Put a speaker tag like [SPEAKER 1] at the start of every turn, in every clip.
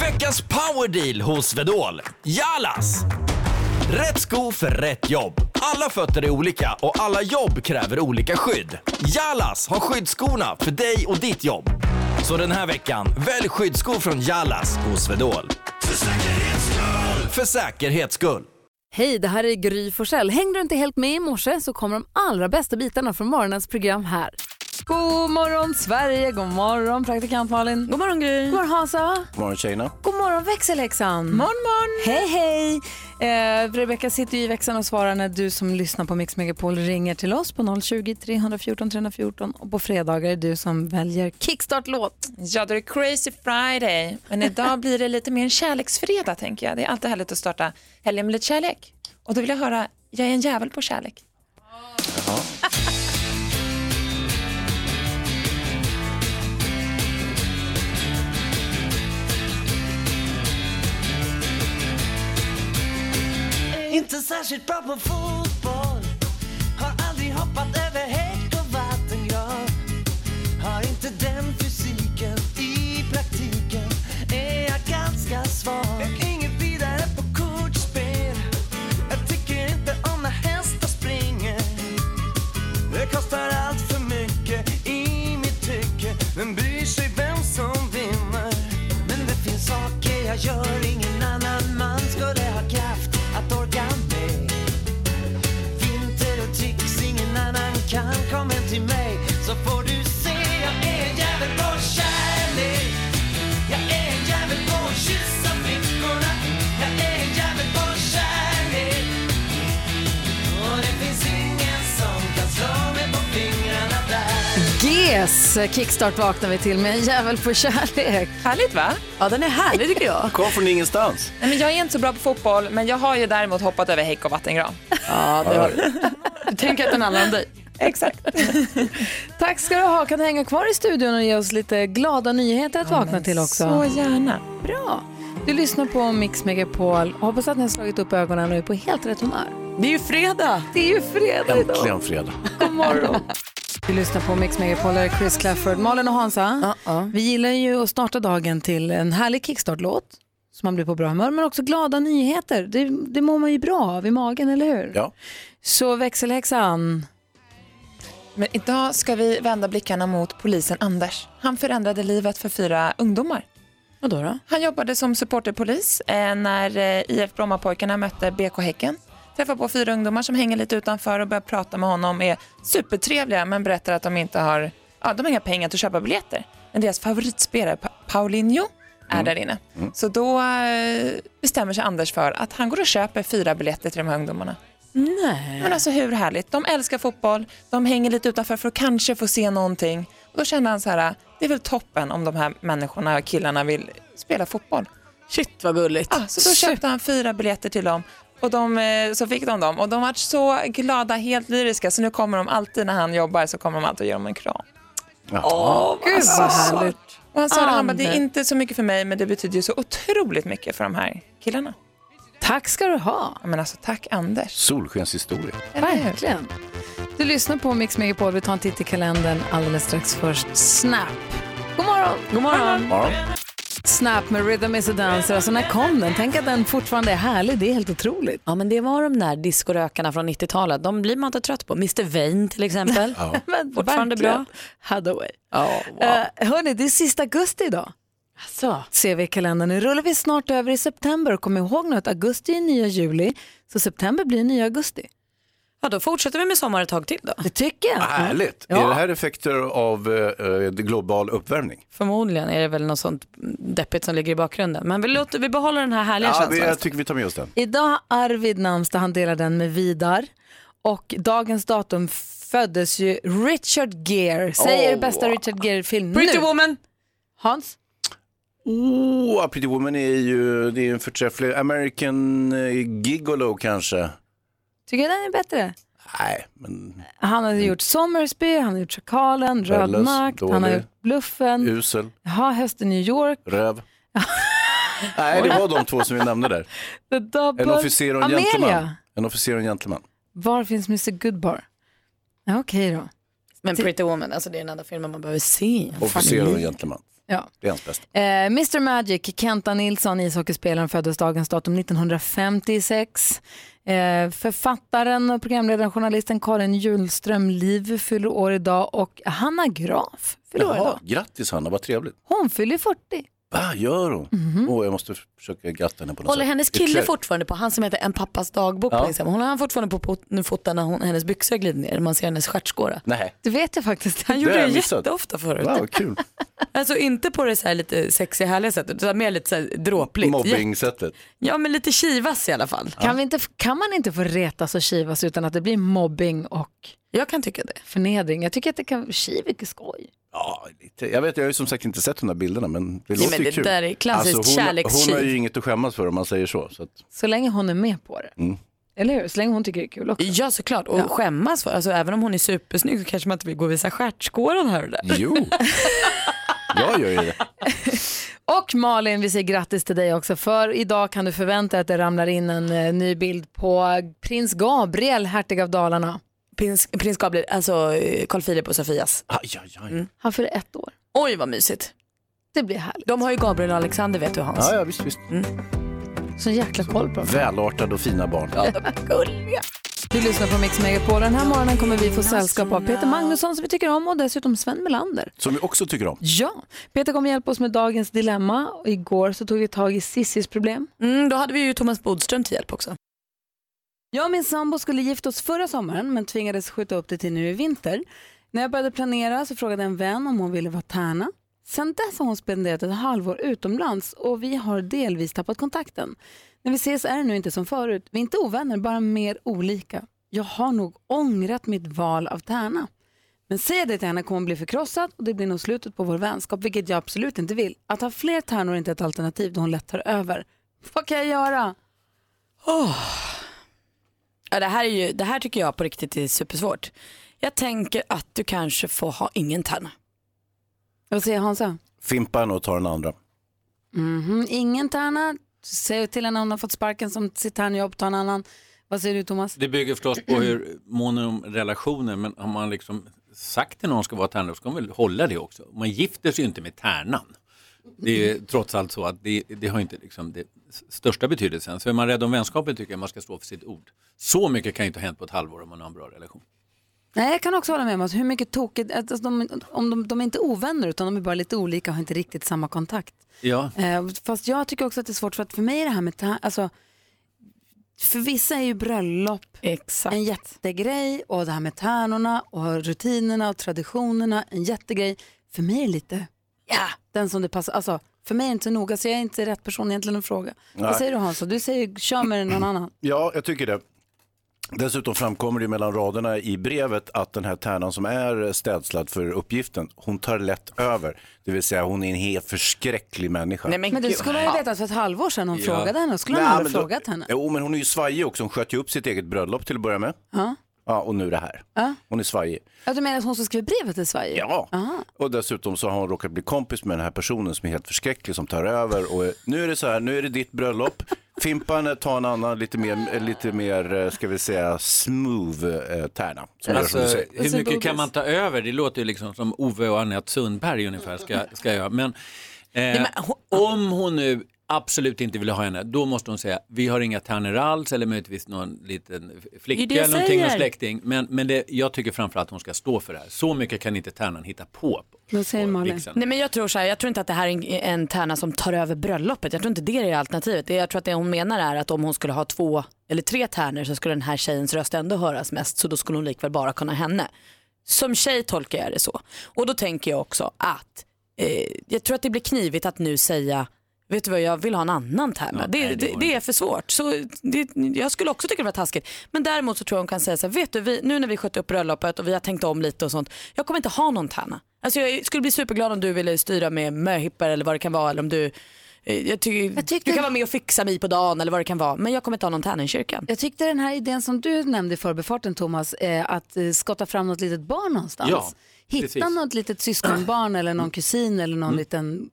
[SPEAKER 1] Veckans powerdeal hos Vedol. Jalas! Rätt sko för rätt jobb. Alla fötter är olika och alla jobb kräver olika skydd. Jalas har skyddsskorna för dig och ditt jobb. Så den här veckan, välj skyddsskor från Jalas hos Vedol. För säkerhets skull! För säkerhets skull.
[SPEAKER 2] Hej, det här är Gry Forssell. Hängde du inte helt med i morse så kommer de allra bästa bitarna från morgonens program här. God morgon Sverige, god morgon praktikant Malin. God morgon Gry. God morgon Hansa.
[SPEAKER 3] God morgon tjejerna.
[SPEAKER 2] God morgon växelhäxan. Morgon morgon. Hej hej. Eh, Rebecka sitter ju i växeln och svarar när du som lyssnar på Mix Megapol ringer till oss på 020-314 314 och på fredagar är du som väljer kickstart-låt.
[SPEAKER 4] Ja, då är det Crazy Friday. Men idag blir det lite mer en kärleksfredag, tänker jag. Det är alltid härligt att starta helgen med lite kärlek. Och då vill jag höra, jag är en jävel på kärlek.
[SPEAKER 5] Inte särskilt bra på fotboll Har aldrig hoppat över häck och vatten jag Har inte den fysiken I praktiken är jag ganska svag Är inget vidare på kortspel Jag tycker inte om när hästar springer Det kostar allt för mycket i mitt tycke Vem bryr sig vem som vinner? Men det finns saker jag gör ingen annan man skulle ha kraft att orka med Vinter och tricks ingen annan kan Kom hem till mig så får du se Jag är en jävel på kärlek Jag är en jävel på att kyssa flickorna Jag är en jävel på kärlek Och det finns ingen som kan slå mig på fingrarna där
[SPEAKER 2] GES kickstart vaknar vi till med en jävel på kärlek.
[SPEAKER 4] Härligt, va?
[SPEAKER 6] Ja, den är härlig tycker jag.
[SPEAKER 3] Kom från ingenstans.
[SPEAKER 4] Nej, men jag är inte så bra på fotboll, men jag har ju däremot hoppat över häck och vattengran.
[SPEAKER 6] Ja, det var...
[SPEAKER 2] Tänk att den handlar om dig.
[SPEAKER 4] Exakt.
[SPEAKER 2] Tack ska du ha. Kan du hänga kvar i studion och ge oss lite glada nyheter att vakna till också?
[SPEAKER 4] Så gärna.
[SPEAKER 2] Bra. Du lyssnar på Mix Megapol. Hoppas att ni har slagit upp ögonen och är på helt rätt humör.
[SPEAKER 6] Det är ju fredag.
[SPEAKER 2] Det är ju fredag idag.
[SPEAKER 3] Äntligen fredag.
[SPEAKER 2] God morgon. Du lyssnar på Mix Megapol, där är Chris Clafford, Malin och Hansa. Vi gillar ju att starta dagen till en härlig kickstart-låt som man blir på bra humör, men också glada nyheter. Det, det mår man ju bra av i magen, eller hur?
[SPEAKER 3] Ja.
[SPEAKER 2] Så växelhäxan,
[SPEAKER 4] Men idag ska vi vända blickarna mot polisen Anders. Han förändrade livet för fyra ungdomar.
[SPEAKER 2] vad då? då?
[SPEAKER 4] Han jobbade som supporterpolis eh, när eh, IF Brommapojkarna mötte BK Häcken. Träffade på fyra ungdomar som hänger lite utanför och börjar prata med honom. Är supertrevliga men berättar att de inte har, ja, de har inga pengar till att köpa biljetter. Men deras favoritspelare Pa- Paulinho är där inne. Så då eh, bestämmer sig Anders för att han går och köper fyra biljetter till de här ungdomarna.
[SPEAKER 2] Nej.
[SPEAKER 4] Men alltså hur härligt. De älskar fotboll, de hänger lite utanför för att kanske få se någonting. Och då kände han så här, det är väl toppen om de här människorna och killarna vill spela fotboll.
[SPEAKER 6] Shit vad gulligt.
[SPEAKER 4] Ja, så då köpte han fyra biljetter till dem och de, eh, så fick de dem och de var så glada, helt lyriska så nu kommer de alltid när han jobbar så kommer de alltid och ger dem en kram.
[SPEAKER 2] Gud vad härligt.
[SPEAKER 4] Och han sa det, han bara, det är
[SPEAKER 2] Anders.
[SPEAKER 4] inte så mycket för mig men det betyder ju så otroligt mycket för de här killarna.
[SPEAKER 2] Tack ska du ha.
[SPEAKER 4] Ja, men alltså tack Anders.
[SPEAKER 3] Solskenshistoria.
[SPEAKER 4] Eller hur?
[SPEAKER 2] Verkligen. Du lyssnar på Mix Megapol. Vi tar en titt i kalendern alldeles strax först. Snap. God morgon. God morgon.
[SPEAKER 3] Morgon.
[SPEAKER 2] Snap med Rhythm is a Dancer. Alltså när kom den? Tänk att den fortfarande är härlig. Det är helt otroligt.
[SPEAKER 6] Ja, men det var de där diskorökarna från 90-talet. De blir man inte trött på. Mr Vain till exempel.
[SPEAKER 2] Men
[SPEAKER 6] Fortfarande
[SPEAKER 2] verkligen.
[SPEAKER 6] bra.
[SPEAKER 2] Hathaway.
[SPEAKER 6] Ja,
[SPEAKER 2] Eh, hörni, det är sista augusti idag.
[SPEAKER 6] alltså.
[SPEAKER 2] ser vi i kalendern. Nu rullar vi snart över i september. Och kom ihåg nu att augusti är nya juli. Så september blir nya augusti.
[SPEAKER 6] ja, då fortsätter vi med sommar ett tag till då.
[SPEAKER 2] Det tycker jag.
[SPEAKER 3] Härligt. Är det här effekter av eh, global uppvärmning?
[SPEAKER 6] Förmodligen är det väl något sånt deppigt som ligger i bakgrunden. Men vi, låter, vi behåller den här härliga
[SPEAKER 3] Ja, vi,
[SPEAKER 6] känslan.
[SPEAKER 3] jag tycker vi tar med oss den.
[SPEAKER 2] Idag har Arvid namnsdag, han delar den med Vidar. Och dagens datum föddes ju Richard Gere. Säg er bästa Richard Gere-film nu.
[SPEAKER 6] Pretty woman!
[SPEAKER 2] Hans?
[SPEAKER 3] Oh, Pretty Woman är ju det är en förträfflig American eh, Gigolo kanske.
[SPEAKER 2] Tycker du den är bättre?
[SPEAKER 3] Nej, men
[SPEAKER 2] Han har gjort Sommersby, han har gjort Chakalen,
[SPEAKER 3] Bellas,
[SPEAKER 2] Rödmark, han har
[SPEAKER 3] dålig.
[SPEAKER 2] gjort Bluffen,
[SPEAKER 6] Mm.
[SPEAKER 3] usel,
[SPEAKER 2] Jaha, Höst i New York,
[SPEAKER 3] röv. Nej, det var de två som vi nämnde där.
[SPEAKER 2] The Double,
[SPEAKER 3] En officer och en
[SPEAKER 2] Amelia.
[SPEAKER 3] gentleman. En officer och en gentleman.
[SPEAKER 2] Var finns Mr Goodbar? Ja, Okej då.
[SPEAKER 6] Men Pretty Woman, alltså det är den enda filmen man behöver se.
[SPEAKER 3] Officer och en gentleman.
[SPEAKER 2] Ja.
[SPEAKER 3] Det är hans bästa.
[SPEAKER 2] Eh, Mr Magic, Kenta Nilsson, ishockeyspelaren, föddes dagens datum 1956. Eh, författaren, och programledaren, journalisten Karin Julström Liv fyller år idag och Hanna Graf fyller år idag.
[SPEAKER 3] Jaha, grattis Hanna, vad trevligt.
[SPEAKER 2] Hon fyller 40.
[SPEAKER 3] Va, gör hon? Åh, jag måste försöka gratta henne på något
[SPEAKER 7] Mhm. Håller
[SPEAKER 3] sätt.
[SPEAKER 7] hennes kille
[SPEAKER 3] Ytterligare.
[SPEAKER 7] fortfarande på, han som heter En pappas dagbok
[SPEAKER 3] Ja.
[SPEAKER 7] på Instagram, håller han fortfarande på pot- fota när hon, hennes byxor glider ner, man ser hennes stjärtskåra?
[SPEAKER 3] Nej,
[SPEAKER 2] Det vet jag faktiskt.
[SPEAKER 7] Han gjorde
[SPEAKER 3] har
[SPEAKER 7] det
[SPEAKER 3] jag missat.
[SPEAKER 7] jätteofta förut.
[SPEAKER 3] wow, kul.
[SPEAKER 7] Alltså inte på det så här lite sexiga härliga sättet utan mer lite så här dråpligt.
[SPEAKER 3] Mobbing-sättet.
[SPEAKER 7] Ja men lite kivas i alla fall.
[SPEAKER 2] Kan, vi inte, kan man inte få retas och kivas utan att det blir mobbing och
[SPEAKER 7] Jag kan tycka det.
[SPEAKER 2] förnedring? Jag tycker att det kan, kiv är skoj.
[SPEAKER 3] Ja, lite. Jag vet, jag har ju som sagt inte sett de där bilderna, men det låter
[SPEAKER 7] men
[SPEAKER 3] ju
[SPEAKER 7] det
[SPEAKER 3] kul. Alltså,
[SPEAKER 7] där är klassiskt
[SPEAKER 3] hon, hon har
[SPEAKER 7] kärlekstjej.
[SPEAKER 3] ju inget att skämmas för om man säger så. så att, mm.
[SPEAKER 2] Så länge hon är med på det. Eller hur? Så länge hon tycker det är kul också.
[SPEAKER 7] Ja såklart och skämmas för, alltså även om hon är supersnygg så kanske man inte vill gå och visa stjärtskåran här och där.
[SPEAKER 3] jo, jag gör ju det.
[SPEAKER 2] Och Malin, vi säger grattis till dig också för idag kan du förvänta dig att det ramlar in en eh, ny bild på prins Gabriel, hertig av Dalarna.
[SPEAKER 7] Prins, prins Gabriel, alltså eh, Carl Philip och Sofias.
[SPEAKER 3] Aj, aj, aj.
[SPEAKER 2] Han fyller ett år.
[SPEAKER 7] Mm. Oj vad mysigt.
[SPEAKER 2] Det blir härligt.
[SPEAKER 7] De har ju Gabriel och Alexander vet du Hans. Mm.
[SPEAKER 3] Ja, ja, visst, visst.
[SPEAKER 2] Så jäkla koll på dem.
[SPEAKER 3] Välartade och fina barn.
[SPEAKER 2] Du lyssnar på Mix Megapol. Den här morgonen kommer vi få sällskap av Peter Magnusson som vi tycker om och dessutom Sven Melander.
[SPEAKER 3] Som vi också tycker om.
[SPEAKER 2] Ja, Peter kommer hjälpa oss med dagens dilemma. Och igår så tog vi tag i Sissis problem.
[SPEAKER 7] Mm, då hade vi ju Thomas Bodström till hjälp också.
[SPEAKER 2] Jag och min sambo skulle gifta oss förra sommaren men tvingades skjuta upp det till nu i vinter. När jag började planera så frågade en vän om hon ville vara tärna. Sedan dess har hon spenderat ett halvår utomlands och vi har delvis tappat kontakten. När vi ses är det nu inte som förut. Vi är inte ovänner, bara mer olika. Jag har nog ångrat mitt val av tärna. Men säger jag det till henne kommer hon bli förkrossad och det blir nog slutet på vår vänskap, vilket jag absolut inte vill. Att ha fler tärnor är inte ett alternativ då hon lätt tar över. Vad kan jag göra?
[SPEAKER 7] Ah. Ja, det, här är ju, det här tycker jag på riktigt är supersvårt. Jag tänker att du kanske får ha ingen tärna.
[SPEAKER 2] Vad säger Hansa?
[SPEAKER 3] Fimpa henne och ta den andra.
[SPEAKER 2] Mm, ingen tärna. Säg till henne om hon har fått sparken som sitt tärnjobb, ta en annan. Vad säger du Thomas?
[SPEAKER 8] Det bygger förstås på hur mån är om relationer, men har man liksom sagt till någon ska vara tärna, då ska man väl hålla det också. Man gifter sig ju inte med tärnan. Det är ju trots allt så att det, det har inte liksom det s- största betydelsen. Så är man rädd om vänskapen tycker jag man ska stå för sitt ord. Så mycket kan ju inte ha hänt på ett halvår om man har en bra relation.
[SPEAKER 2] Nej, jag kan också hålla med om att hur mycket tokigt, att alltså de, om de, de är inte ovänner utan de är bara lite olika och har inte riktigt samma kontakt.
[SPEAKER 8] Ja,
[SPEAKER 2] Eh, fast jag tycker också att det är svårt för att för mig är det här med tärna, alltså för vissa är ju bröllop
[SPEAKER 7] Exakt.
[SPEAKER 2] en jättegrej och det här med tärnorna och rutinerna och traditionerna en jättegrej. För mig är det lite, ja, den som det passar. Alltså, för mig är det inte så noga så jag är inte rätt person egentligen att fråga.
[SPEAKER 3] Nej.
[SPEAKER 2] Vad säger du Hansa? Du säger kör med någon annan.
[SPEAKER 3] Ja, jag tycker det. Dessutom framkommer det ju mellan raderna i brevet att den här tärnan som är städslad för uppgiften, hon tar lätt över. Det vill säga hon är en helt förskräcklig människa.
[SPEAKER 7] Nej, men
[SPEAKER 2] Men det
[SPEAKER 7] gud.
[SPEAKER 2] skulle hon ju vetat för ett halvår sedan hon
[SPEAKER 8] Ja.
[SPEAKER 2] frågade henne och skulle hon
[SPEAKER 3] Nej,
[SPEAKER 2] aldrig
[SPEAKER 3] men då-
[SPEAKER 2] frågat henne.
[SPEAKER 3] Jo, men hon är ju svajig också. Hon sköt ju upp sitt eget bröllop till att börja med.
[SPEAKER 2] Ja.
[SPEAKER 3] Ja, och nu det här. Hon är svajig.
[SPEAKER 2] Ja, du menar att hon som skrev brevet till Sverige?
[SPEAKER 3] Ja, och dessutom så har hon råkat bli kompis med den här personen som är helt förskräcklig som tar över. Och eh, nu är det så här, nu är det ditt bröllop. Fimpan tar en annan lite mer, eh, lite mer eh, ska vi säga, smooth eh, tärna. Som gör som du
[SPEAKER 8] Alltså,
[SPEAKER 3] säger.
[SPEAKER 8] hur mycket kan man ta över? Det låter ju liksom som Ove och Anette Sundberg ungefär ska, ska göra. Men, eh, om hon nu absolut inte vill ha henne, då måste hon säga vi har inga tärnor alls eller möjligtvis någon liten flicka
[SPEAKER 7] Det är det jag
[SPEAKER 8] eller någonting, någon
[SPEAKER 7] säger.
[SPEAKER 8] släkting. Men, men det, jag tycker framförallt att hon ska stå för det här. Så mycket kan inte tärnan hitta på. på
[SPEAKER 2] Vad säger Malin?
[SPEAKER 8] vigseln.
[SPEAKER 7] Nej, men jag tror så här, jag tror inte att det här är en, en tärna som tar över bröllopet. Jag tror inte det är alternativet. Det jag tror att det hon menar är att om hon skulle ha två eller tre tärnor så skulle den här tjejens röst ändå höras mest. Så då skulle hon likväl bara kunna henne. Som tjej tolkar jag det så. Och då tänker jag också att eh, jag tror att det blir knivigt att nu säga Vet du vad, jag vill ha en annan tärna.
[SPEAKER 8] Ja,
[SPEAKER 7] det,
[SPEAKER 8] nej, det
[SPEAKER 7] det,
[SPEAKER 8] går
[SPEAKER 7] det
[SPEAKER 8] inte.
[SPEAKER 7] är för svårt. Så det, jag skulle också tycka det var taskigt. Men däremot så tror jag hon kan säga så här, vet du, vi, nu när vi skötte upp bröllopet och vi har tänkt om lite och sånt, jag kommer inte ha någon tärna. Alltså jag skulle bli superglad om du ville styra med möhippor eller vad det kan vara. Eller om du, eh, jag tycker,
[SPEAKER 2] tyckte-
[SPEAKER 7] du kan vara med och fixa mig på dagen eller vad det kan vara. Men jag kommer inte ha någon tärna i kyrkan.
[SPEAKER 2] Jag tyckte den här idén som du nämnde i förbifarten Thomas, eh, att eh, skotta fram något litet barn någonstans.
[SPEAKER 8] Ja,
[SPEAKER 2] Hitta
[SPEAKER 8] precis.
[SPEAKER 2] något litet syskonbarn eller någon kusin eller någon liten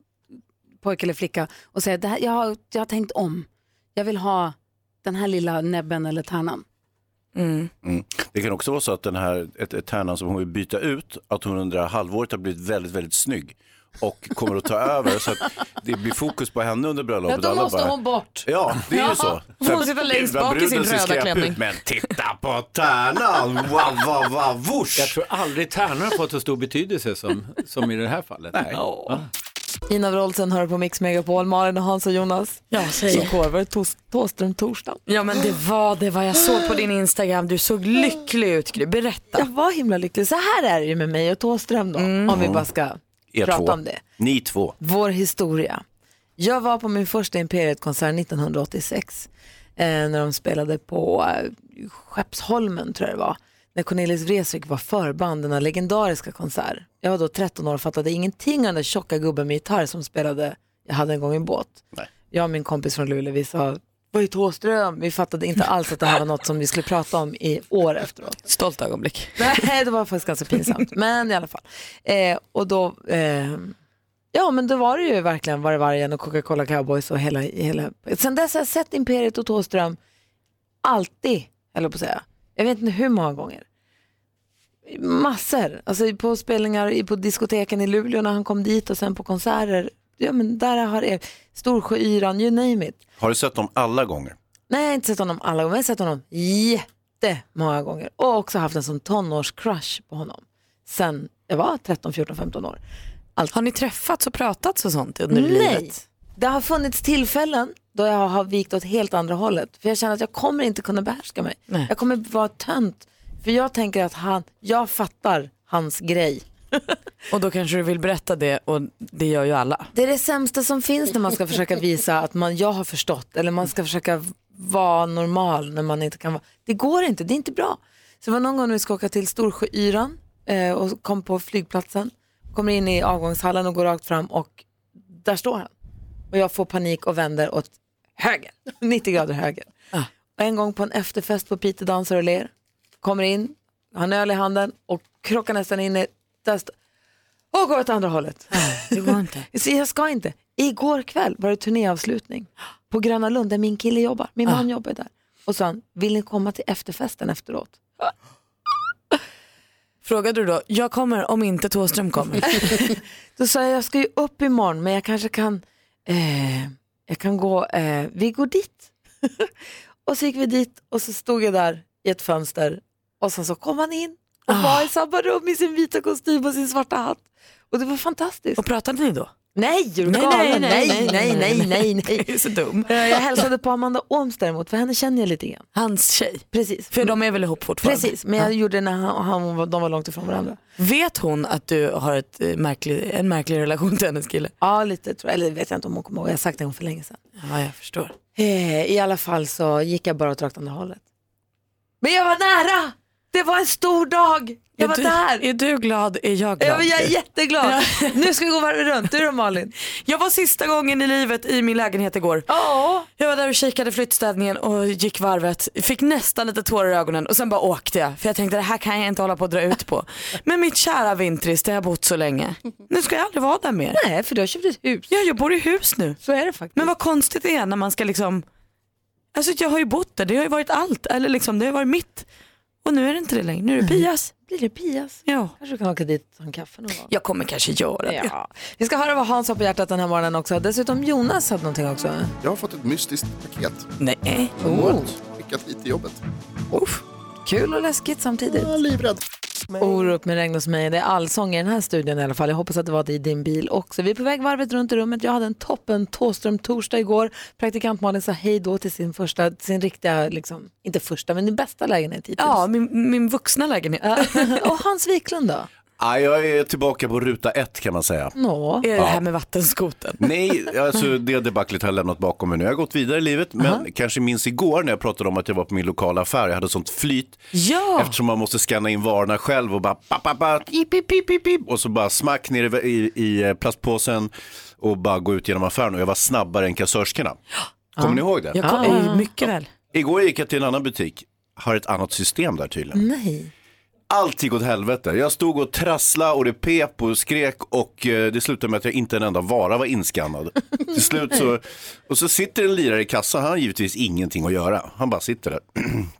[SPEAKER 2] pojke eller flicka och säga, det här, jag, har, jag har tänkt om. Jag vill ha den här lilla näbben eller tärnan.
[SPEAKER 3] Mm. Det kan också vara så att den här ett, ett tärnan som hon vill byta ut, att hon under halvåret har blivit väldigt, väldigt snygg. och kommer att ta över så att det blir fokus på henne under bröllopet.
[SPEAKER 2] Ja, då
[SPEAKER 3] Alla
[SPEAKER 2] måste hon bort.
[SPEAKER 3] Ja, det är
[SPEAKER 2] Ja,
[SPEAKER 3] ju så.
[SPEAKER 2] hon får sitta längst bak i
[SPEAKER 3] bruden
[SPEAKER 2] sin
[SPEAKER 3] ser
[SPEAKER 2] röda
[SPEAKER 3] skräp ut,
[SPEAKER 2] klänning.
[SPEAKER 3] Men titta på tärnan, va, va, va,
[SPEAKER 8] Jag
[SPEAKER 3] vush.
[SPEAKER 8] tror aldrig tärnor har fått så stor betydelse som, som i det här fallet. Nej.
[SPEAKER 2] Ina Wroldsen hör på Mix Megapol, Malin och Hans och Jonas.
[SPEAKER 7] Ja,
[SPEAKER 2] Som
[SPEAKER 7] säg.
[SPEAKER 2] går, var det tos- Thåström-torsdagen?
[SPEAKER 7] Ja men det var det var jag såg på din Instagram. Du såg lycklig ut Gry. Berätta. Mm.
[SPEAKER 2] Jag var himla lycklig. Så här är det ju med mig och Thåström då, om vi bara ska
[SPEAKER 3] Er två.
[SPEAKER 2] prata om det.
[SPEAKER 3] Ni två.
[SPEAKER 2] Vår historia. Jag var på min första Imperiet-konsert 1986 eh, när de spelade på eh, Skeppsholmen tror jag det var. När Cornelis Vreeswijk var förband, denna legendariska konsert. Jag var då 13 år och fattade ingenting av den där tjocka gubben med gitarr som spelade Jag hade en gång en båt. Jag och min kompis från Luleå, vi sa vad är Thåström? Vi fattade inte alls att det här var något som vi skulle prata om i år efteråt.
[SPEAKER 7] Stolt ögonblick.
[SPEAKER 2] Nej, det var faktiskt ganska pinsamt. Men i alla fall. Eh, och då, eh, ja men då var det ju verkligen Var det vargen och Coca-Cola Cowboys och hela, hela. Sen dess har jag sett Imperiet och Thåström alltid, eller på att säga. Jag vet inte hur många gånger. Massor. Alltså på spelningar i- på diskoteken i Luleå när han kom dit och sen på konserter. Ja men där har jag, Storsjöyran, you name it.
[SPEAKER 3] Har du sett dem alla gånger?
[SPEAKER 2] Nej, jag har inte sett honom alla gånger, men jag har sett honom jättemånga gånger. Och också haft en sån tonårscrush på honom. Sen jag var 13, 14, 15 år.
[SPEAKER 7] Har ni träffats och pratat och sånt under
[SPEAKER 2] Nej,
[SPEAKER 7] livet?
[SPEAKER 2] det har funnits tillfällen då jag har vikt åt helt andra hållet. För jag känner att jag kommer inte kunna behärska mig.
[SPEAKER 7] Nej.
[SPEAKER 2] Jag kommer vara tönt. För jag tänker att han, jag fattar hans grej.
[SPEAKER 7] Och då kanske du vill berätta det och det gör ju alla.
[SPEAKER 2] Det är det sämsta som finns när man ska försöka visa att man, jag har förstått eller man ska försöka v- vara normal när man inte kan vara. Det går inte, det är inte bra. Så det var någon gång när vi ska åka till Storsjöyran eh, och kom på flygplatsen, kommer in i avgångshallen och går rakt fram och där står han. Och jag får panik och vänder åt höger, 90 grader höger. Och en gång på en efterfest på Piteå dansar och ler, kommer in, har en öl i handen och krockar nästan in i, där st- och går åt andra hålet.
[SPEAKER 7] Det går inte.
[SPEAKER 2] Så jag ska inte. Igår kväll var det turnéavslutning på Gröna Lund där min kille jobbar.
[SPEAKER 7] Ah.
[SPEAKER 2] Min man jobbar där. Och sa han, vill ni komma till efterfesten efteråt?
[SPEAKER 7] Frågade du då, jag kommer om inte Thåström kommer.
[SPEAKER 2] Då sa jag, jag ska ju upp imorgon men jag kanske kan, eh, jag kan gå, eh, vi går dit. och så gick vi dit och så stod jag där i ett fönster och sen så kom han in
[SPEAKER 7] Ah.
[SPEAKER 2] och var i samma rum i sin vita kostym och sin svarta hatt. Och det var fantastiskt.
[SPEAKER 7] Och pratade ni då?
[SPEAKER 2] Nej, är du
[SPEAKER 7] Nej,
[SPEAKER 2] galen?
[SPEAKER 7] nej,
[SPEAKER 2] nej,
[SPEAKER 7] nej,
[SPEAKER 2] nej, nej, nej, nej.
[SPEAKER 7] är så dum.
[SPEAKER 2] Eh, Jag hälsade på Amanda Ooms däremot, för henne känner jag lite grann.
[SPEAKER 7] Hans tjej.
[SPEAKER 2] Precis.
[SPEAKER 7] För de är väl ihop fortfarande?
[SPEAKER 2] Precis, men jag gjorde det när han, han, var- de var långt ifrån varandra.
[SPEAKER 7] Vet hon att du har ett, eh, märklig, en märklig relation till hennes kille?
[SPEAKER 2] Ja, lite tror jag. Eller det vet jag inte om hon kommer ihåg, jag har sagt det för länge sedan.
[SPEAKER 7] Ja, jag förstår.
[SPEAKER 2] Eh, I alla fall så gick jag bara åt rakt andra hållet. Men jag var nära! Det var en stor dag! Jag var
[SPEAKER 7] är, du,
[SPEAKER 2] där!
[SPEAKER 7] är du glad? Är jag glad?
[SPEAKER 2] Ja, men jag är jätteglad. Nu ska vi gå varvet runt. Du då Malin?
[SPEAKER 7] Jag var sista gången i livet i min lägenhet igår.
[SPEAKER 2] Ja.
[SPEAKER 7] Jag var där och kikade flyttstädningen och gick varvet. Fick nästan lite tårar i ögonen och sen bara åkte jag. För jag tänkte det här kan jag inte hålla på att dra ut på. Men mitt kära Vintris, där jag har bott så länge. Nu ska jag aldrig vara där mer.
[SPEAKER 2] Nej, för du har köpt ett hus.
[SPEAKER 7] Ja, jag bor i hus nu.
[SPEAKER 2] Så är det faktiskt.
[SPEAKER 7] Men vad konstigt det är när man ska liksom, alltså jag har ju bott där, det har ju varit allt, eller liksom det har ju varit mitt. Och nu är det inte det längre, nu är
[SPEAKER 2] Mm.
[SPEAKER 7] det Pias.
[SPEAKER 2] blir det Pias?
[SPEAKER 7] Ja.
[SPEAKER 2] Kanske du kan åka dit och ta en kaffe någon gång.
[SPEAKER 7] Jag kommer kanske göra det.
[SPEAKER 2] Ja. Vi ska höra vad Hans har på hjärtat den här morgonen också. Dessutom Jonas hade någonting också.
[SPEAKER 9] Jag har fått ett mystiskt paket.
[SPEAKER 7] Nej.
[SPEAKER 2] Oh,
[SPEAKER 9] Skickat hit till jobbet.
[SPEAKER 2] kul och läskigt samtidigt.
[SPEAKER 9] Jag är livrädd.
[SPEAKER 2] Orup med regn hos mig. Det är allsång i den här studion i alla fall. Jag hoppas att det var det i din bil också. Vi är på väg varvet runt i rummet. Jag hade en toppen Tåström torsdag igår. Praktikant Malin sa hej då till sin första, sin riktiga, liksom, inte första, men din bästa lägenhet hittills.
[SPEAKER 7] Ja, min, min vuxna lägenhet.
[SPEAKER 2] och Hans Wiklund då?
[SPEAKER 3] Ah, jag är tillbaka på ruta ett kan man säga.
[SPEAKER 2] Nå.
[SPEAKER 7] Är det det här med vattenskoten?
[SPEAKER 3] Nej, alltså det debaclet har jag lämnat bakom mig nu. Jag har gått vidare i livet, men kanske minns igår när jag pratade om att jag var på min lokala affär. Jag hade sånt flyt
[SPEAKER 7] Ja.
[SPEAKER 3] eftersom man måste scanna in varorna själv och bara pa, pa, pa, pip, pip, pip, pip, pip, och så bara smack ner i, i, i eh, plastpåsen och bara gå ut genom affären och jag var snabbare än kassörskorna. Kommer ni ihåg det?
[SPEAKER 7] Jag kom,
[SPEAKER 2] Ah.
[SPEAKER 7] eh, Mycket väl.
[SPEAKER 3] Igår gick jag till en annan butik, har ett annat system där tydligen.
[SPEAKER 2] Nej.
[SPEAKER 3] Allt gick åt helvete. Jag stod och trasslade och det pep och skrek och eh, det slutade med att jag inte en enda vara var inskannad. Till slut så, och så sitter en lirare i kassan, han har givetvis ingenting att göra. Han bara sitter där.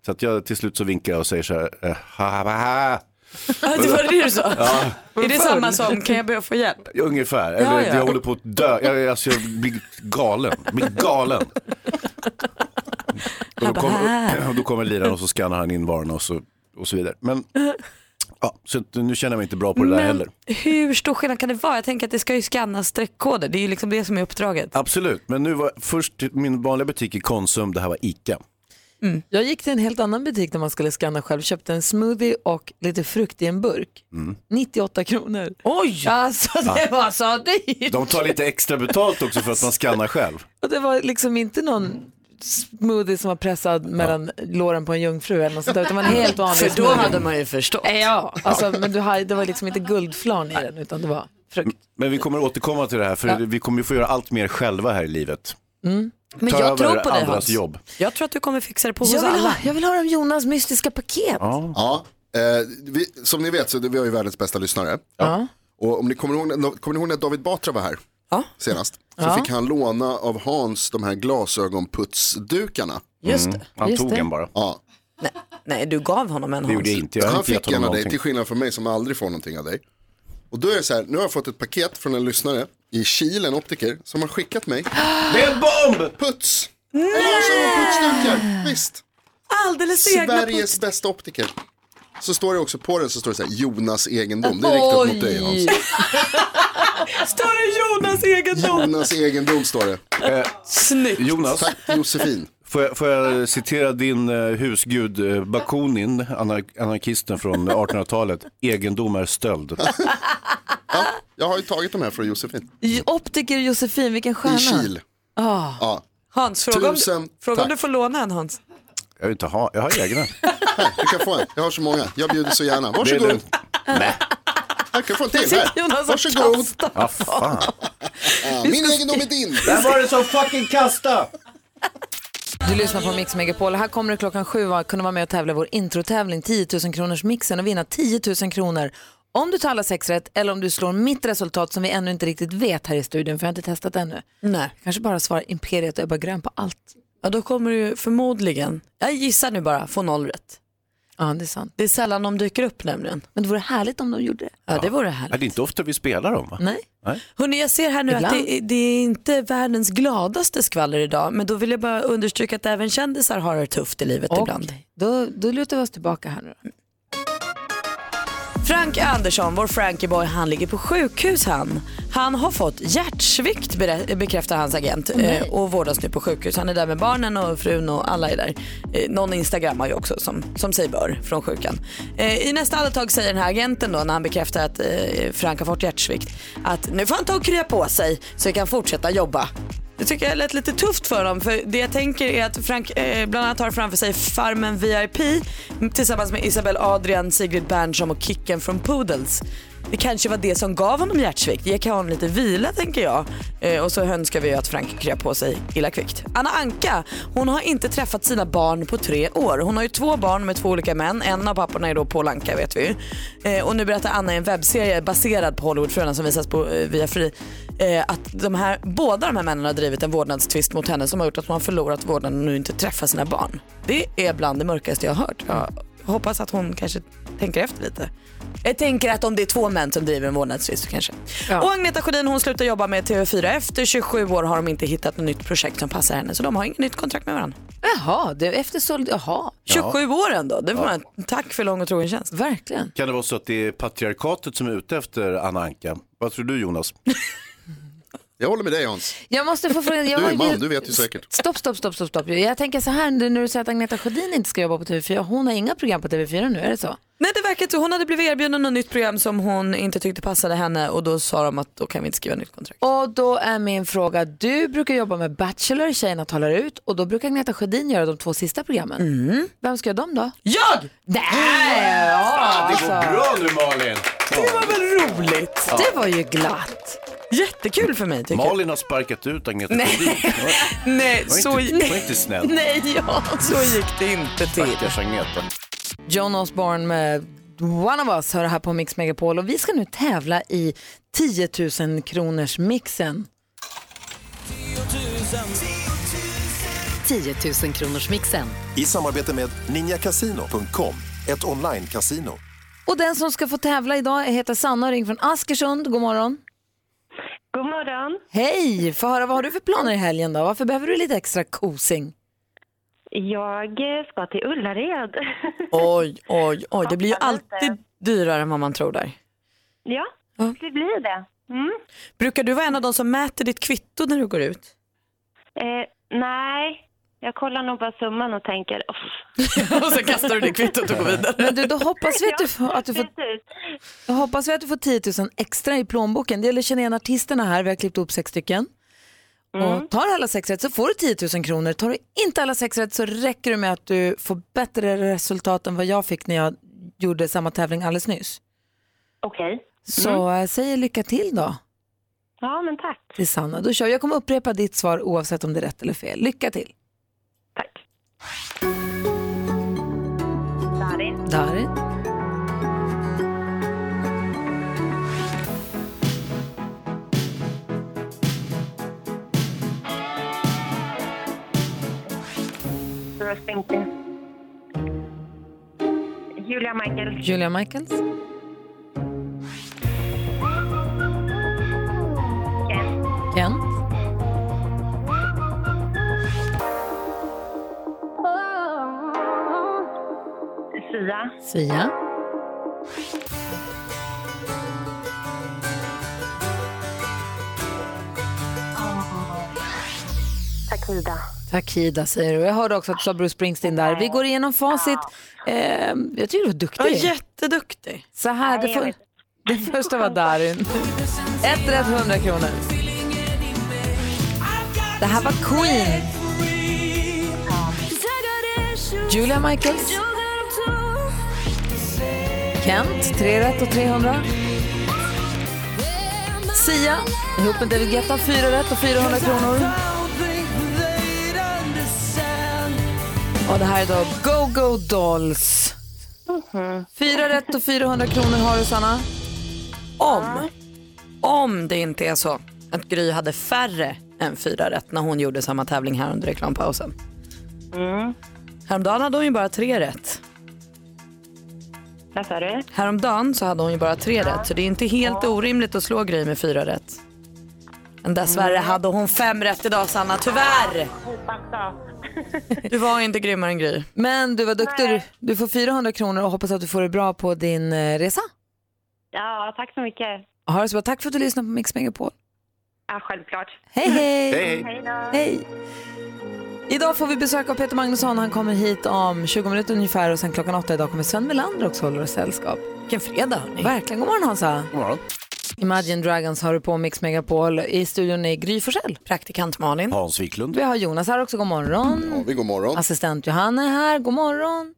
[SPEAKER 3] så att jag till slut så vinkar jag och säger så här, eh, ha, ha, ha.
[SPEAKER 6] det var det du sa.
[SPEAKER 3] Ja.
[SPEAKER 6] Är det samma som, kan jag be att få hjälp?
[SPEAKER 3] Ungefär.
[SPEAKER 6] Ja,
[SPEAKER 3] Eller
[SPEAKER 6] ja.
[SPEAKER 3] jag håller på att dö. Jag, alltså, jag blir galen. Jag blir galen. Och då, kommer, och då kommer liraren och så skannar han in varorna och så, och så vidare. Men ja, så att nu känner jag mig inte bra på det där heller.
[SPEAKER 6] hur stor skillnad kan det vara? Jag tänker att det ska ju skannas streckkoder. Det är ju liksom det som är uppdraget.
[SPEAKER 3] Absolut, men nu var först min vanliga butik i Konsum, det här var ICA.
[SPEAKER 7] Mm.
[SPEAKER 2] Jag gick till en helt annan butik där man skulle scanna själv. Köpte en smoothie och lite frukt i en burk.
[SPEAKER 3] Mm.
[SPEAKER 2] 98 kronor. Oj! Alltså det var så dyrt.
[SPEAKER 3] De tar lite extra betalt också för att man skannar själv.
[SPEAKER 2] Och det var liksom inte någon smoothie som var pressad mellan låren på en jungfru eller något sånt där, utan det var en helt vanlig
[SPEAKER 7] För då
[SPEAKER 2] smoothie.
[SPEAKER 7] hade man ju förstått.
[SPEAKER 2] Ja, alltså, men du hade, det var liksom inte guldflarn i den utan det var frukt.
[SPEAKER 3] Men vi kommer återkomma till det här, för vi kommer ju få göra allt mer själva här i livet.
[SPEAKER 2] mm.
[SPEAKER 7] Men
[SPEAKER 3] Ta
[SPEAKER 7] jag tror
[SPEAKER 3] över
[SPEAKER 7] på dig
[SPEAKER 3] andras
[SPEAKER 7] Hans.
[SPEAKER 3] jobb.
[SPEAKER 7] Jag tror att du kommer fixa det på hos
[SPEAKER 2] Jag vill, ha,
[SPEAKER 7] alla.
[SPEAKER 2] jag vill höra om Jonas mystiska paket.
[SPEAKER 9] Ja, eh, vi, som ni vet så vi har ju världens bästa lyssnare.
[SPEAKER 2] Ja.
[SPEAKER 9] Och om ni kommer ihåg, när- kommer ni ihåg när David Batra var här
[SPEAKER 7] Ja.
[SPEAKER 9] senast? Så
[SPEAKER 2] Ja.
[SPEAKER 9] fick han låna av Hans de här glasögonputsdukarna.
[SPEAKER 7] Mm. Just det.
[SPEAKER 3] Han
[SPEAKER 2] Just
[SPEAKER 3] tog
[SPEAKER 2] det.
[SPEAKER 3] en bara.
[SPEAKER 9] Ja,
[SPEAKER 7] Nej, du gav honom en
[SPEAKER 3] Det gjorde jag
[SPEAKER 7] Hans.
[SPEAKER 3] inte. Jag har
[SPEAKER 9] han
[SPEAKER 3] inte gett
[SPEAKER 9] fick en
[SPEAKER 3] honom
[SPEAKER 9] av dig,
[SPEAKER 3] någonting.
[SPEAKER 9] till skillnad från mig som aldrig får någonting av dig. Och då är det så här, nu har jag fått ett paket från en lyssnare i Kil, en optiker, som har skickat mig
[SPEAKER 3] Det är en bomb!
[SPEAKER 9] puts. Nej! Glasögonputsdukar, visst.
[SPEAKER 7] Alldeles egna
[SPEAKER 9] Sveriges bästa optiker. Så står det också på den så står det så här, Jonas egendom. Det är riktat mot dig Hans.
[SPEAKER 7] Står det Jonas egendom?
[SPEAKER 9] Jonas egendom står det.
[SPEAKER 7] Snyggt.
[SPEAKER 3] Eh, Jonas,
[SPEAKER 9] Tack Josefin.
[SPEAKER 3] får jag, får jag citera din eh, husgud eh, Bakunin, anar- anarkisten från 1800-talet. Egendom är stöld.
[SPEAKER 9] Ja, jag har ju tagit de här från Josefin.
[SPEAKER 2] Jo- Optiker Josefin, vilken
[SPEAKER 9] I
[SPEAKER 2] stjärna.
[SPEAKER 9] Kil. Ja.
[SPEAKER 6] Ah. Hans, fråga om,
[SPEAKER 9] Tusen
[SPEAKER 6] fråga om
[SPEAKER 9] tack.
[SPEAKER 6] du får låna en Hans.
[SPEAKER 3] Jag vill inte ha, jag har egna.
[SPEAKER 9] Här, du kan få en. Jag har så många. Jag bjuder så gärna.
[SPEAKER 3] Det är
[SPEAKER 9] Varsågod.
[SPEAKER 3] lugnt. Nej,
[SPEAKER 9] Här kan du få en till.
[SPEAKER 2] Sitter
[SPEAKER 9] Här.
[SPEAKER 2] Jonas och
[SPEAKER 9] Varsågod.
[SPEAKER 2] kastar.
[SPEAKER 3] vad fan.
[SPEAKER 9] Ja, min egendom är din.
[SPEAKER 3] Där var det som fucking kasta.
[SPEAKER 2] Du lyssnar på Mix Megapol. Här kommer du klockan sju att kunna vara med och tävla i vår introtävling 10 000 kronors mixen och vinna 10 000 kronor om du tar alla sex rätt eller om du slår mitt resultat som vi ännu inte riktigt vet här i studion för jag har inte testat ännu.
[SPEAKER 7] Nej.
[SPEAKER 2] Jag kanske bara svarar Imperiet och Ebba Grön på allt.
[SPEAKER 7] Ja, då kommer du förmodligen, jag gissar nu bara, få noll rätt.
[SPEAKER 2] Ja, det är sant.
[SPEAKER 7] Det är sällan de dyker upp nämligen.
[SPEAKER 2] Men det vore härligt om de gjorde det.
[SPEAKER 7] Ja, det vore
[SPEAKER 3] Ja, det
[SPEAKER 7] härligt.
[SPEAKER 3] är inte ofta vi spelar dem va?
[SPEAKER 2] Nej?
[SPEAKER 7] Hörrni, jag ser här nu
[SPEAKER 2] Ibland.
[SPEAKER 7] att det, det är inte världens gladaste skvaller idag, men då vill jag bara understryka att även kändisar har det tufft i livet ibland.
[SPEAKER 2] Okej, Då, då lutar vi oss tillbaka här nu då.
[SPEAKER 7] Frank Andersson, vår Frankieboy, han ligger på sjukhus han. Han har fått hjärtsvikt berä- bekräftar hans agent eh, och vårdas nu på sjukhus. Han är där med barnen och frun och alla är där. Eh, någon instagrammar ju också som, som sig bör från sjukan. Eh, I nästa andetag säger den här agenten då när han bekräftar att eh, Frank har fått hjärtsvikt att nu får han ta och krya på sig så vi kan fortsätta jobba. Det tycker jag lät lite tufft för dem. För det jag tänker är att Frank eh, bland annat har framför sig Farmen VIP tillsammans med Isabel Adrian, Sigrid Bernström och Kicken från Poodles. Det kanske var det som gav honom hjärtsvikt. Ge honom lite vila tänker jag. Eh, och så önskar vi ju att Frank kröp på sig illa kvickt. Anna Anka, hon har inte träffat sina barn på tre år. Hon har ju två barn med två olika män. En av papporna är då Paul Anka vet vi ju. Eh, och nu berättar Anna i en webbserie baserad på Hollywoodfruarna som visas på eh, via Free eh, att de här, båda de här männen har drivit en vårdnadstvist mot henne som har gjort att hon har förlorat vårdnaden och nu inte träffar sina barn. Det är bland det mörkaste jag har hört. Jag hoppas att hon kanske tänker efter lite. Jag tänker att om det är två män som driver en vårdnadstvist så kanske. Och Agneta Sjödin hon slutar jobba med TV4. Efter 27 år har de inte hittat något nytt projekt som passar henne så de har inget nytt kontrakt med varandra.
[SPEAKER 2] Jaha, det är eftersåld. Jaha,
[SPEAKER 7] 27 år ändå, det får man, tack för lång och trogen tjänst.
[SPEAKER 2] verkligen.
[SPEAKER 3] Kan det vara så att det är patriarkatet som är ute efter Anna Anka? Vad tror du Jonas?
[SPEAKER 9] Jag håller med dig Hans.
[SPEAKER 2] Jag måste få fråga. Jag
[SPEAKER 9] Du
[SPEAKER 2] har
[SPEAKER 9] är
[SPEAKER 2] ju-
[SPEAKER 9] man, du vet ju säkert.
[SPEAKER 2] Stopp, stopp, stopp, stopp, stopp. Jag tänker så här, när du säger att Agneta Sjödin inte ska jobba på TV4, hon har inga program på TV4 nu, är det så?
[SPEAKER 7] Nej det verkar inte, hon hade blivit erbjuden något nytt program som hon inte tyckte passade henne och då sa de att då kan vi inte skriva nytt kontrakt.
[SPEAKER 2] Och då är min fråga, du brukar jobba med Bachelor, Tjejerna talar ut, och då brukar Agneta Sjödin göra de två sista programmen. Vem ska göra dem då?
[SPEAKER 7] Mm. Jag! Mm.
[SPEAKER 2] Nej, ja,
[SPEAKER 3] Ah, Det går
[SPEAKER 2] alltså.
[SPEAKER 3] bra nu Malin!
[SPEAKER 7] Vad roligt!
[SPEAKER 2] Det var ju glatt.
[SPEAKER 7] Jättekul för mig tycker jag.
[SPEAKER 3] Malin har sparkat ut Agneta Sjödin.
[SPEAKER 7] Nej,
[SPEAKER 3] Var inte,
[SPEAKER 7] så,
[SPEAKER 3] var inte snäll.
[SPEAKER 7] nej ja, så gick det inte till.
[SPEAKER 3] Stackars Agneta.
[SPEAKER 2] John Osborne med One of Us hör här på Mix Megapol och vi ska nu tävla i 10 000 kronors mixen.
[SPEAKER 10] 10 000 kronors mixen.
[SPEAKER 11] I samarbete med ninjakasino.com, ett online-casino.
[SPEAKER 2] Och den som ska få tävla idag heter Sanna och ring från Askersund. God morgon.
[SPEAKER 6] God morgon.
[SPEAKER 2] Hej! Få höra, vad har du för planer i helgen då? Varför behöver du lite extra kosing?
[SPEAKER 6] Jag eh, ska till Ullared.
[SPEAKER 7] Oj, oj, oj. Det blir ju alltid dyrare än vad man tror där.
[SPEAKER 6] ja, det blir det. Mm.
[SPEAKER 7] Brukar du vara en av de som mäter ditt kvitto när du går ut?
[SPEAKER 6] Eh, nej, jag kollar nog bara summan och tänker... "Uff."
[SPEAKER 7] och sen kastar du det kvittot och går vidare.
[SPEAKER 2] Men du, då hoppas vi att du får, att du får,
[SPEAKER 6] Precis.
[SPEAKER 2] då hoppas vi att du får 10 000 extra i plånboken. Det gäller att känna igen artisterna här, vi har klippt ihop sex stycken. Och tar alla sex rätt så får du 10 000 kronor. Tar du inte alla sex rätt så räcker det med att du får bättre resultat än vad jag fick när jag gjorde samma tävling alldeles nyss.
[SPEAKER 6] Okej.
[SPEAKER 2] Så mm. säg lycka till då
[SPEAKER 6] Ja, men tack.
[SPEAKER 2] till Sanna. Då kör vi. Jag kommer upprepa ditt svar oavsett om det är rätt eller fel. Lycka till!
[SPEAKER 6] Tack. Darin.
[SPEAKER 2] Darin.
[SPEAKER 6] Bruce Springsteen. Julia Michaels.
[SPEAKER 2] Julia Michaels.
[SPEAKER 6] Ken.
[SPEAKER 2] Ken.
[SPEAKER 6] Sia.
[SPEAKER 2] Sia.
[SPEAKER 6] Takida.
[SPEAKER 2] Takida säger du. Jag hörde också att du sa Bruce Springsteen där. Vi går igenom facit. Eh, jag tycker du var duktig.
[SPEAKER 7] jätteduktig.
[SPEAKER 2] Så här, det,
[SPEAKER 6] Nej, jag
[SPEAKER 2] för,
[SPEAKER 6] vet inte.
[SPEAKER 2] det första var Darin. Ett rätt, 100 kronor. Det här var Queen. Julia Michaels. Kent, tre rätt och 300. Sia, ihop med David Guetta, fyra rätt och 400 kronor. Och det här är då Go Go Dolls.
[SPEAKER 6] Mhm.
[SPEAKER 2] Fyra rätt och 400 kronor har du, Sanna.
[SPEAKER 7] Om, om det inte är så att Gry hade färre än fyra rätt när hon gjorde samma tävling här under reklampausen. Häromdagen hade hon ju bara tre rätt.
[SPEAKER 6] Vad sa du?
[SPEAKER 7] Häromdagen så hade hon ju bara tre rätt så det är inte helt orimligt att slå Gry med fyra rätt. Men dessvärre hade hon fem rätt idag Sanna, tyvärr.
[SPEAKER 6] Mm. Hoppas av.
[SPEAKER 7] Du var inte grymmare än Gry.
[SPEAKER 2] Men du var duktig. Du- Du får 400 kronor och hoppas att du får det bra på din eh, resa.
[SPEAKER 6] Ja, tack så mycket.
[SPEAKER 2] Ha det så bra. Tack för att du lyssnade på Mix Megapol.
[SPEAKER 6] Ja, självklart.
[SPEAKER 2] Hej, hej!
[SPEAKER 3] Mm. Hej.
[SPEAKER 6] Hej då.
[SPEAKER 2] hej. Idag får vi besök av Peter Magnusson. Han kommer hit om 20 minuter ungefär och sen klockan åtta idag kommer Sven Melander också hålla oss sällskap.
[SPEAKER 7] Vilken fredag hörni.
[SPEAKER 2] Verkligen. God morgon Hansa!
[SPEAKER 3] God morgon.
[SPEAKER 2] Imagine Dragons har du på Mix Megapol. I studion är Gry Forssell.
[SPEAKER 7] Praktikant Malin.
[SPEAKER 3] Hans Wiklund.
[SPEAKER 2] Vi har Jonas här också. God morgon.
[SPEAKER 9] Ja, vi går morgon.
[SPEAKER 2] Assistent Johanna är här. God morgon.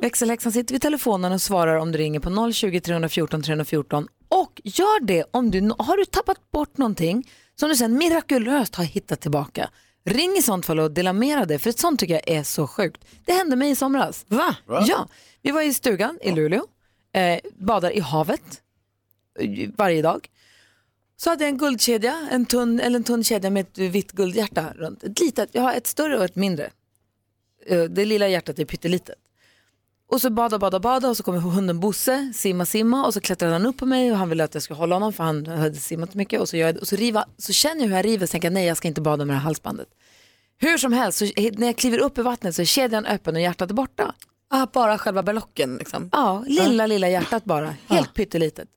[SPEAKER 2] Växelhäxan sitter vid telefonen och svarar om du ringer på 020 314 314. Och gör det om du har du tappat bort någonting som du sen mirakulöst har hittat tillbaka. Ring i sånt fall och dela med dig av det, för sånt tycker jag är så sjukt. Det hände mig i somras. Va? Ja, vi var i stugan i Luleå, eh, badar i havet eh, varje dag. Så hade jag en guldkedja, en tunn, eller en tunn kedja med ett vitt guldhjärta runt. Ett litet, jag har ett större och ett mindre. Eh, Det lilla hjärtat är pyttelitet. Och så bada, bada, bada och så kommer hunden Bosse, simma, simma och så klättrade han upp på mig och han ville att jag skulle hålla honom för han hade simmat mycket och så, gör jag, det. och så, riva, så känner jag hur jag river och tänker jag, nej jag ska inte bada med det här halsbandet. Hur som helst, så, när jag kliver upp i vattnet så är kedjan öppen och hjärtat är borta.
[SPEAKER 7] Ah, bara själva berlocken liksom.
[SPEAKER 2] Ja, lilla, lilla hjärtat bara, helt pyttelitet,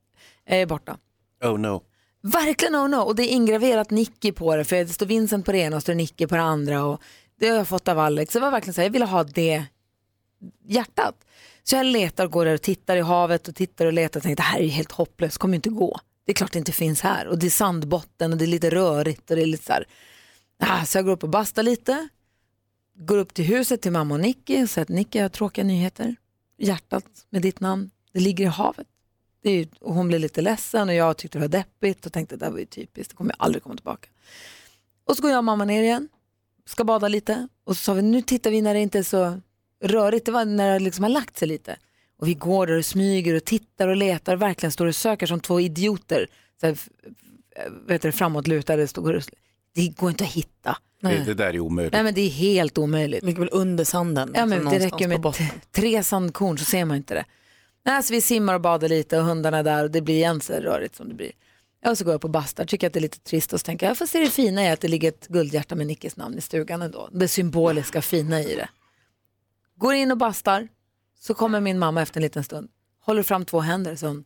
[SPEAKER 2] är borta.
[SPEAKER 3] Oh no.
[SPEAKER 2] Verkligen oh no. Och det är ingraverat Nicky på det. För det står Vincent på det ena och står Nicky på det andra. Och det har jag fått av Alex. Det var verkligen så här, jag ville ha det hjärtat. Så jag letar och går där och tittar i havet och tittar och letar och tänker det här är ju helt hopplöst, det kommer ju inte gå. Det är klart det inte finns här. Och det är sandbotten och det är lite rörigt och det är lite så här. Ah, så jag går upp och bastar lite. Går upp till huset till mamma och Nicky och säger att Nicky jag har tråkiga nyheter. Hjärtat med ditt namn, det ligger i havet det är ju, och hon blev lite ledsen och jag tyckte det var deppigt och tänkte det där var ju typiskt, det kommer jag aldrig komma tillbaka. Och så går jag och mamma ner igen, ska bada lite och så sa vi nu tittar vi när det inte är så rörigt, det var när det liksom har lagt sig lite. Och vi går där och smyger och tittar och letar och verkligen står och söker som två idioter. Så här, f- f- vet du, framåtlutade, står och, det går inte att hitta.
[SPEAKER 3] Det, det där är omöjligt.
[SPEAKER 2] Nej men det är helt omöjligt.
[SPEAKER 7] Ligger väl under sanden.
[SPEAKER 2] Ja, men
[SPEAKER 7] liksom,
[SPEAKER 2] det
[SPEAKER 7] någonstans
[SPEAKER 2] räcker
[SPEAKER 7] på
[SPEAKER 2] med
[SPEAKER 7] botten.
[SPEAKER 2] t- tre sandkorn så ser man inte det. Nej, så vi simmar och badar lite och hundarna är där och det blir igen så rörigt som det blir. Ja, Och så går jag upp och bastar, tycker att det är lite trist och så tänker jag, får se det fina i att det ligger ett guldhjärta med Nickes namn i stugan ändå. Det symboliska fina i det. Går in och bastar, så kommer min mamma efter en liten stund, håller fram två händer så hon,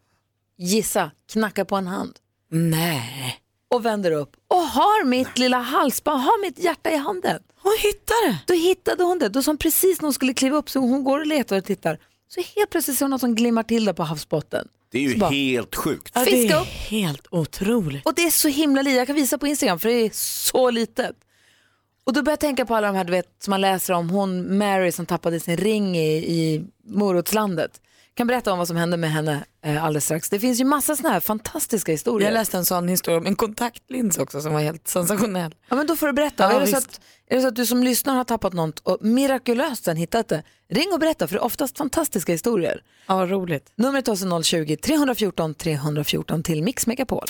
[SPEAKER 2] gissa, knackar på en hand.
[SPEAKER 6] Nej.
[SPEAKER 2] och vänder upp och har mitt lilla halsband, har mitt hjärta i handen.
[SPEAKER 6] Hon hittade det.
[SPEAKER 2] Då hittade hon det, då som precis när hon skulle kliva upp så hon går och letar och tittar. Så helt plötsligt ser hon något som glimmar till där på havsbotten.
[SPEAKER 3] Det är ju
[SPEAKER 2] Så bara-
[SPEAKER 3] helt sjukt.
[SPEAKER 6] Ja, det
[SPEAKER 2] Fiska
[SPEAKER 6] är
[SPEAKER 2] upp.
[SPEAKER 6] helt otroligt.
[SPEAKER 2] Och det är så himla litet, jag kan visa på Instagram för det är så litet. Och då börjar jag tänka på alla de här du vet, som man läser om, hon Mary som tappade sin ring i, i morotslandet. Jag kan berätta om vad som hände med henne eh, alldeles strax. Det finns ju massa sådana här fantastiska historier.
[SPEAKER 6] Jag läste en sån historia om en kontaktlins också som var helt sensationell.
[SPEAKER 2] Ja, men då får du berätta.
[SPEAKER 6] Ja,
[SPEAKER 2] är, det så
[SPEAKER 6] visst.
[SPEAKER 2] att, är det så att du som lyssnar har tappat något och mirakulöst sen hittat det, ring och berätta för det är oftast fantastiska historier.
[SPEAKER 6] Ja, vad roligt.
[SPEAKER 2] Numret är alltså 020-314 314 till Mix Megapol.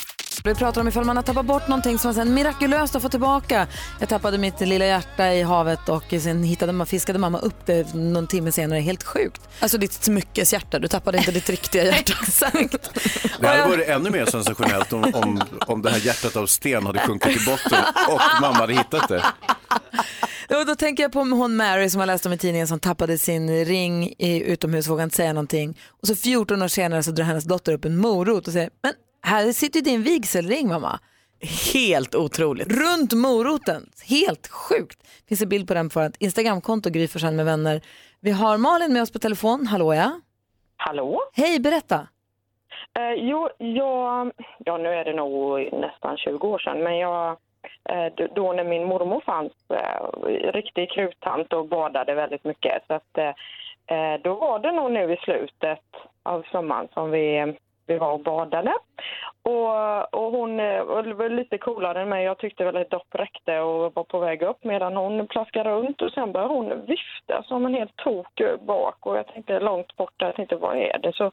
[SPEAKER 2] Vi pratar om ifall man har tappat bort någonting som man sen mirakulöst har fått tillbaka. Jag tappade mitt lilla hjärta i havet och sen hittade man, fiskade mamma upp det någon timme senare. Helt sjukt.
[SPEAKER 6] Alltså ditt smyckeshjärta, du tappade inte ditt riktiga hjärta.
[SPEAKER 2] Exakt.
[SPEAKER 3] Det hade varit ännu mer sensationellt om, om, om det här hjärtat av sten hade sjunkit till botten och mamma hade hittat det.
[SPEAKER 2] Ja, då tänker jag på hon Mary som jag läste om i tidningen som tappade sin ring i utomhus, vågade inte säga någonting. Och så 14 år senare så drar hennes dotter upp en morot och säger, men här sitter ju din vigselring mamma.
[SPEAKER 6] Helt otroligt.
[SPEAKER 2] Runt moroten, helt sjukt. Det finns en bild på den på vårt Instagramkonto, Gry Forssell med vänner. Vi har Malin med oss på telefon, hallå ja.
[SPEAKER 11] Hallå?
[SPEAKER 2] Hej, berätta.
[SPEAKER 11] Eh, jo, jag, ja, nu är det nog nästan 20 år sedan, men jag, eh, d- då när min mormor fanns, eh, riktig kruttant och badade väldigt mycket, så att, eh, eh, då var det nog nu i slutet av sommaren som vi, vi var och badade. Och, och hon eh, var väl lite coolare än mig. Jag tyckte väl ett dopp räckte och var på väg upp medan hon plaskade runt och sen började hon vifta som en helt tok bak och jag tänkte långt borta, jag tänkte vad är det? Så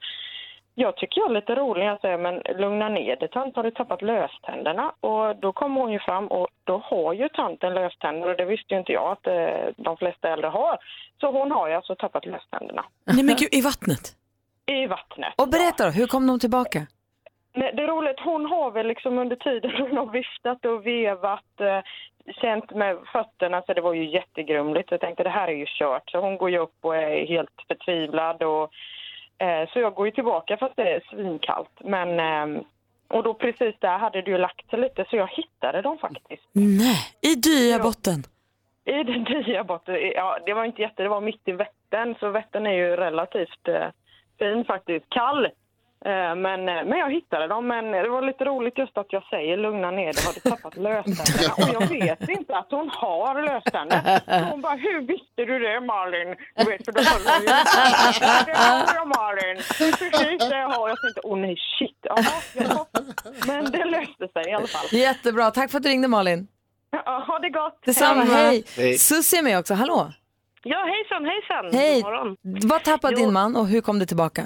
[SPEAKER 11] jag tycker jag är lite rolig. Jag säger, men lugna ner dig tant, har du tappat löständerna? Och då kommer hon ju fram och då har ju tanten löständer och det visste ju inte jag att eh, de flesta äldre har. Så hon har ju alltså tappat löständerna
[SPEAKER 6] Nej men gud, i vattnet.
[SPEAKER 11] i vattnet.
[SPEAKER 2] Och berätta då, hur kom de tillbaka?
[SPEAKER 11] Nej, det är roligt, hon har väl liksom under tiden hon har viftat och vevat, eh, känt med fötterna, så det var ju jättegrumligt. Jag tänkte det här är ju kört, så hon går ju upp och är helt förtvivlad. Och, eh, så jag går ju tillbaka fast det är svinkallt. Men, eh, och då precis där hade det ju lagt sig lite, så jag hittade dem faktiskt.
[SPEAKER 6] Nej, i Dyabotten.
[SPEAKER 11] I den nya botten, ja det var inte jätte, det var mitt i Vättern, så Vättern är ju relativt eh, fin faktiskt, kall. Eh, men, eh, men jag hittade dem, men det var lite roligt just att jag säger lugna ner dig, har du tappat löständerna? Och jag vet inte att hon har löständer. Så Hon bara, hur visste du det Malin? Du vet, för då höll hon ju Det har jag Malin, det är precis det jag har. Jag tänkte, åh nej shit, jaha, jaha. Men det löste sig i alla fall.
[SPEAKER 2] Jättebra, tack för att du ringde Malin.
[SPEAKER 11] Ja, ha det gott!
[SPEAKER 2] Detsamma, hej.
[SPEAKER 3] Hej.
[SPEAKER 2] Susie är med också, hallå.
[SPEAKER 11] Ja hejsan hejsan!
[SPEAKER 2] Hej.
[SPEAKER 11] Mm, God morgon.
[SPEAKER 2] Vad tappade
[SPEAKER 11] Jo.
[SPEAKER 2] din man och hur kom det tillbaka?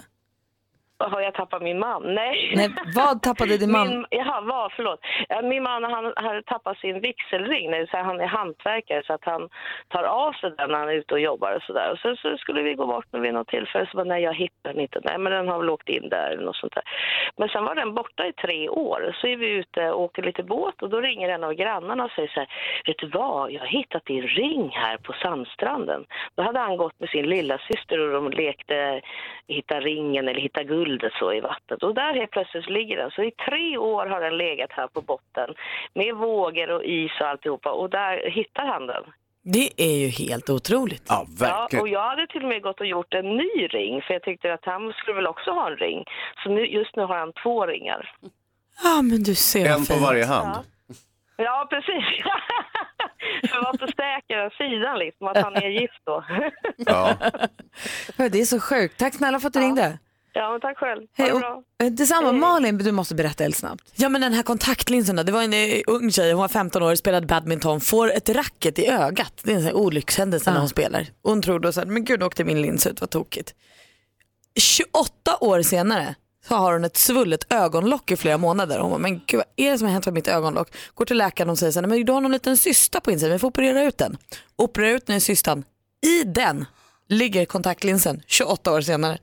[SPEAKER 11] Har jag tappat min man? Nej.
[SPEAKER 2] Nej, vad tappade din man?
[SPEAKER 11] Min, jaha, vad, förlåt. Eh, Min man han, han tappade sin vigselring. Det vill säga, Han är hantverkare så att han tar av sig den när han är ute och jobbar. Och så där. Och sen så skulle vi gå bort men vid något tillfälle så bara, nej jag hittar den inte. Nej men den har väl åkt in där eller något sånt där. Men sen var den borta i tre år. Så är vi ute och åker lite båt och då ringer en av grannarna och säger så här, vet du vad, jag har hittat din ring här på sandstranden. Då hade han gått med sin lilla syster och de lekte hitta ringen eller hitta guldet så i vattnet. Och där helt plötsligt ligger den. Så i tre år har den legat här på botten med vågor och is och alltihopa. Och där hittar han den.
[SPEAKER 6] Det är ju helt otroligt.
[SPEAKER 3] Ja,
[SPEAKER 11] Ja, och
[SPEAKER 3] verkligen.
[SPEAKER 11] jag hade till och med gått och gjort en ny ring för jag tyckte att han skulle väl också ha en ring. Så nu, just nu har han två ringar.
[SPEAKER 6] Ja men du ser vad
[SPEAKER 3] En på
[SPEAKER 6] fint.
[SPEAKER 3] varje hand.
[SPEAKER 11] Ja, precis. för att vara på säkra sidan liksom, att han är gift då.
[SPEAKER 3] Ja.
[SPEAKER 2] Det är så sjukt. Tack snälla för att du ringde.
[SPEAKER 11] ja, men tack själv. Ha
[SPEAKER 2] Hej,
[SPEAKER 11] det
[SPEAKER 2] och,
[SPEAKER 11] bra.
[SPEAKER 2] eh, detsamma, Malin, du måste berätta helt snabbt.
[SPEAKER 6] Ja men den här kontaktlinsen då, det var en eh, ung tjej, hon var 15 år, spelade badminton, får ett racket i ögat. Det är en sån här olyckshändelse när hon spelar. Hon tror då så här, men gud då åkte min lins ut, vad tokigt. 28 år senare så har hon ett svullet ögonlock i flera månader. Hon bara, men gud vad är det som har hänt med mitt ögonlock? Går till läkaren och säger så här, "Nej, men du har någon liten cysta på insidan, vi får operera ut den. Operera ut den i cystan, i den ligger kontaktlinsen 28 år senare.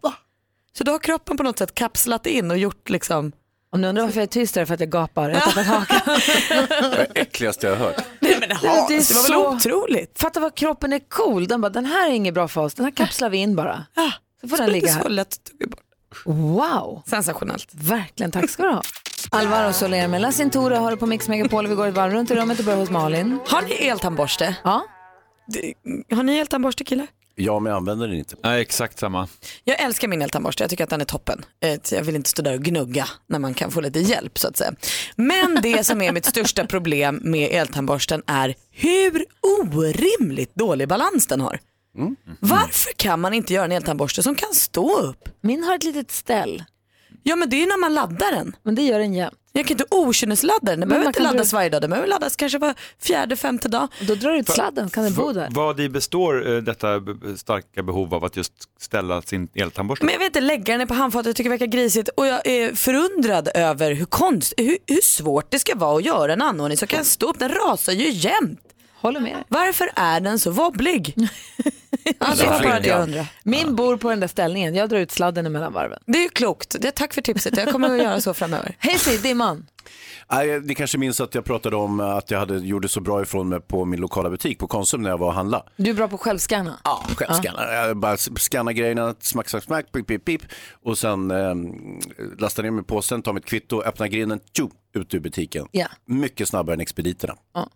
[SPEAKER 7] Så då har kroppen på något sätt kapslat in och gjort liksom...
[SPEAKER 2] Om ni undrar varför jag är tyst är det för att jag gapar. Jag tappar
[SPEAKER 3] Det är det äckligaste jag har hört.
[SPEAKER 7] det var väl
[SPEAKER 2] otroligt. Fatta vad kroppen är cool. Den bara, den här är inget bra för oss. Den här kapslar vi in bara. Så får den
[SPEAKER 7] Skulle
[SPEAKER 2] ligga
[SPEAKER 7] inte så
[SPEAKER 2] här.
[SPEAKER 7] lätt tog vi bort.
[SPEAKER 2] Wow.
[SPEAKER 7] Sensationellt.
[SPEAKER 2] Verkligen, tack ska du ha. Alvaro Soler med La Cintura har du på Mix Megapol. Vi går ett varv runt i rummet och börjar hos Malin.
[SPEAKER 7] Har ni eltandborste?
[SPEAKER 2] Ja.
[SPEAKER 7] Har ni eltandborste killar?
[SPEAKER 3] Ja, men jag använder den inte.
[SPEAKER 12] Nej, exakt samma.
[SPEAKER 7] Jag älskar min eltandborste, jag tycker att den är toppen. Eh, Jag vill inte stå där och gnugga när man kan få lite hjälp så att säga. Men det som är mitt största problem med eltandborsten är hur orimligt dålig balans den har. Varför kan man inte göra en eltandborste som kan stå upp?
[SPEAKER 2] Min har ett litet ställ.
[SPEAKER 7] Ja men det är ju när man laddar den.
[SPEAKER 2] Men det gör den jämt.
[SPEAKER 7] Jag kan inte okynnesladda den, den behöver
[SPEAKER 2] man
[SPEAKER 7] inte
[SPEAKER 2] kan
[SPEAKER 7] laddas
[SPEAKER 2] dra-
[SPEAKER 7] varje dag, den behöver laddas kanske var fjärde, femte dag.
[SPEAKER 2] Då drar du ut sladden så kan den bo där.
[SPEAKER 13] Vad i består eh, detta b- b- starka behov av att just ställa sin eltandborste?
[SPEAKER 7] Men jag vill inte lägga den på handfatet, jag tycker det verkar grisigt och jag är förundrad över hur, konst, hur, hur svårt det ska vara att göra en anordning som kan stå upp. Den rasar ju jämt.
[SPEAKER 2] Håller med.
[SPEAKER 7] Varför är den så wobblig? alltså, det var bara det jag undrar.
[SPEAKER 2] Min bor på den där ställningen. Jag drar ut sladden emellan varven.
[SPEAKER 7] Det är ju klokt. Det, tack för tipset. Jag kommer att göra så framöver.
[SPEAKER 2] Hej Sid, det är man.
[SPEAKER 3] Nej, ni kanske minns att jag pratade om att jag hade, gjorde så bra ifrån mig på min lokala butik på Konsum när jag var och handlade.
[SPEAKER 2] Du är bra på att självscanna.
[SPEAKER 3] Ja, självskanna. Jag bara skannar grejerna, smack, smack, smack, pip, pip, pip. Och sen eh, lastar ner mig i påsen, tar mitt kvitto, öppnar grinden, tjo, ut ur butiken.
[SPEAKER 2] Ja.
[SPEAKER 3] Mycket snabbare än expediterna.
[SPEAKER 2] Ja.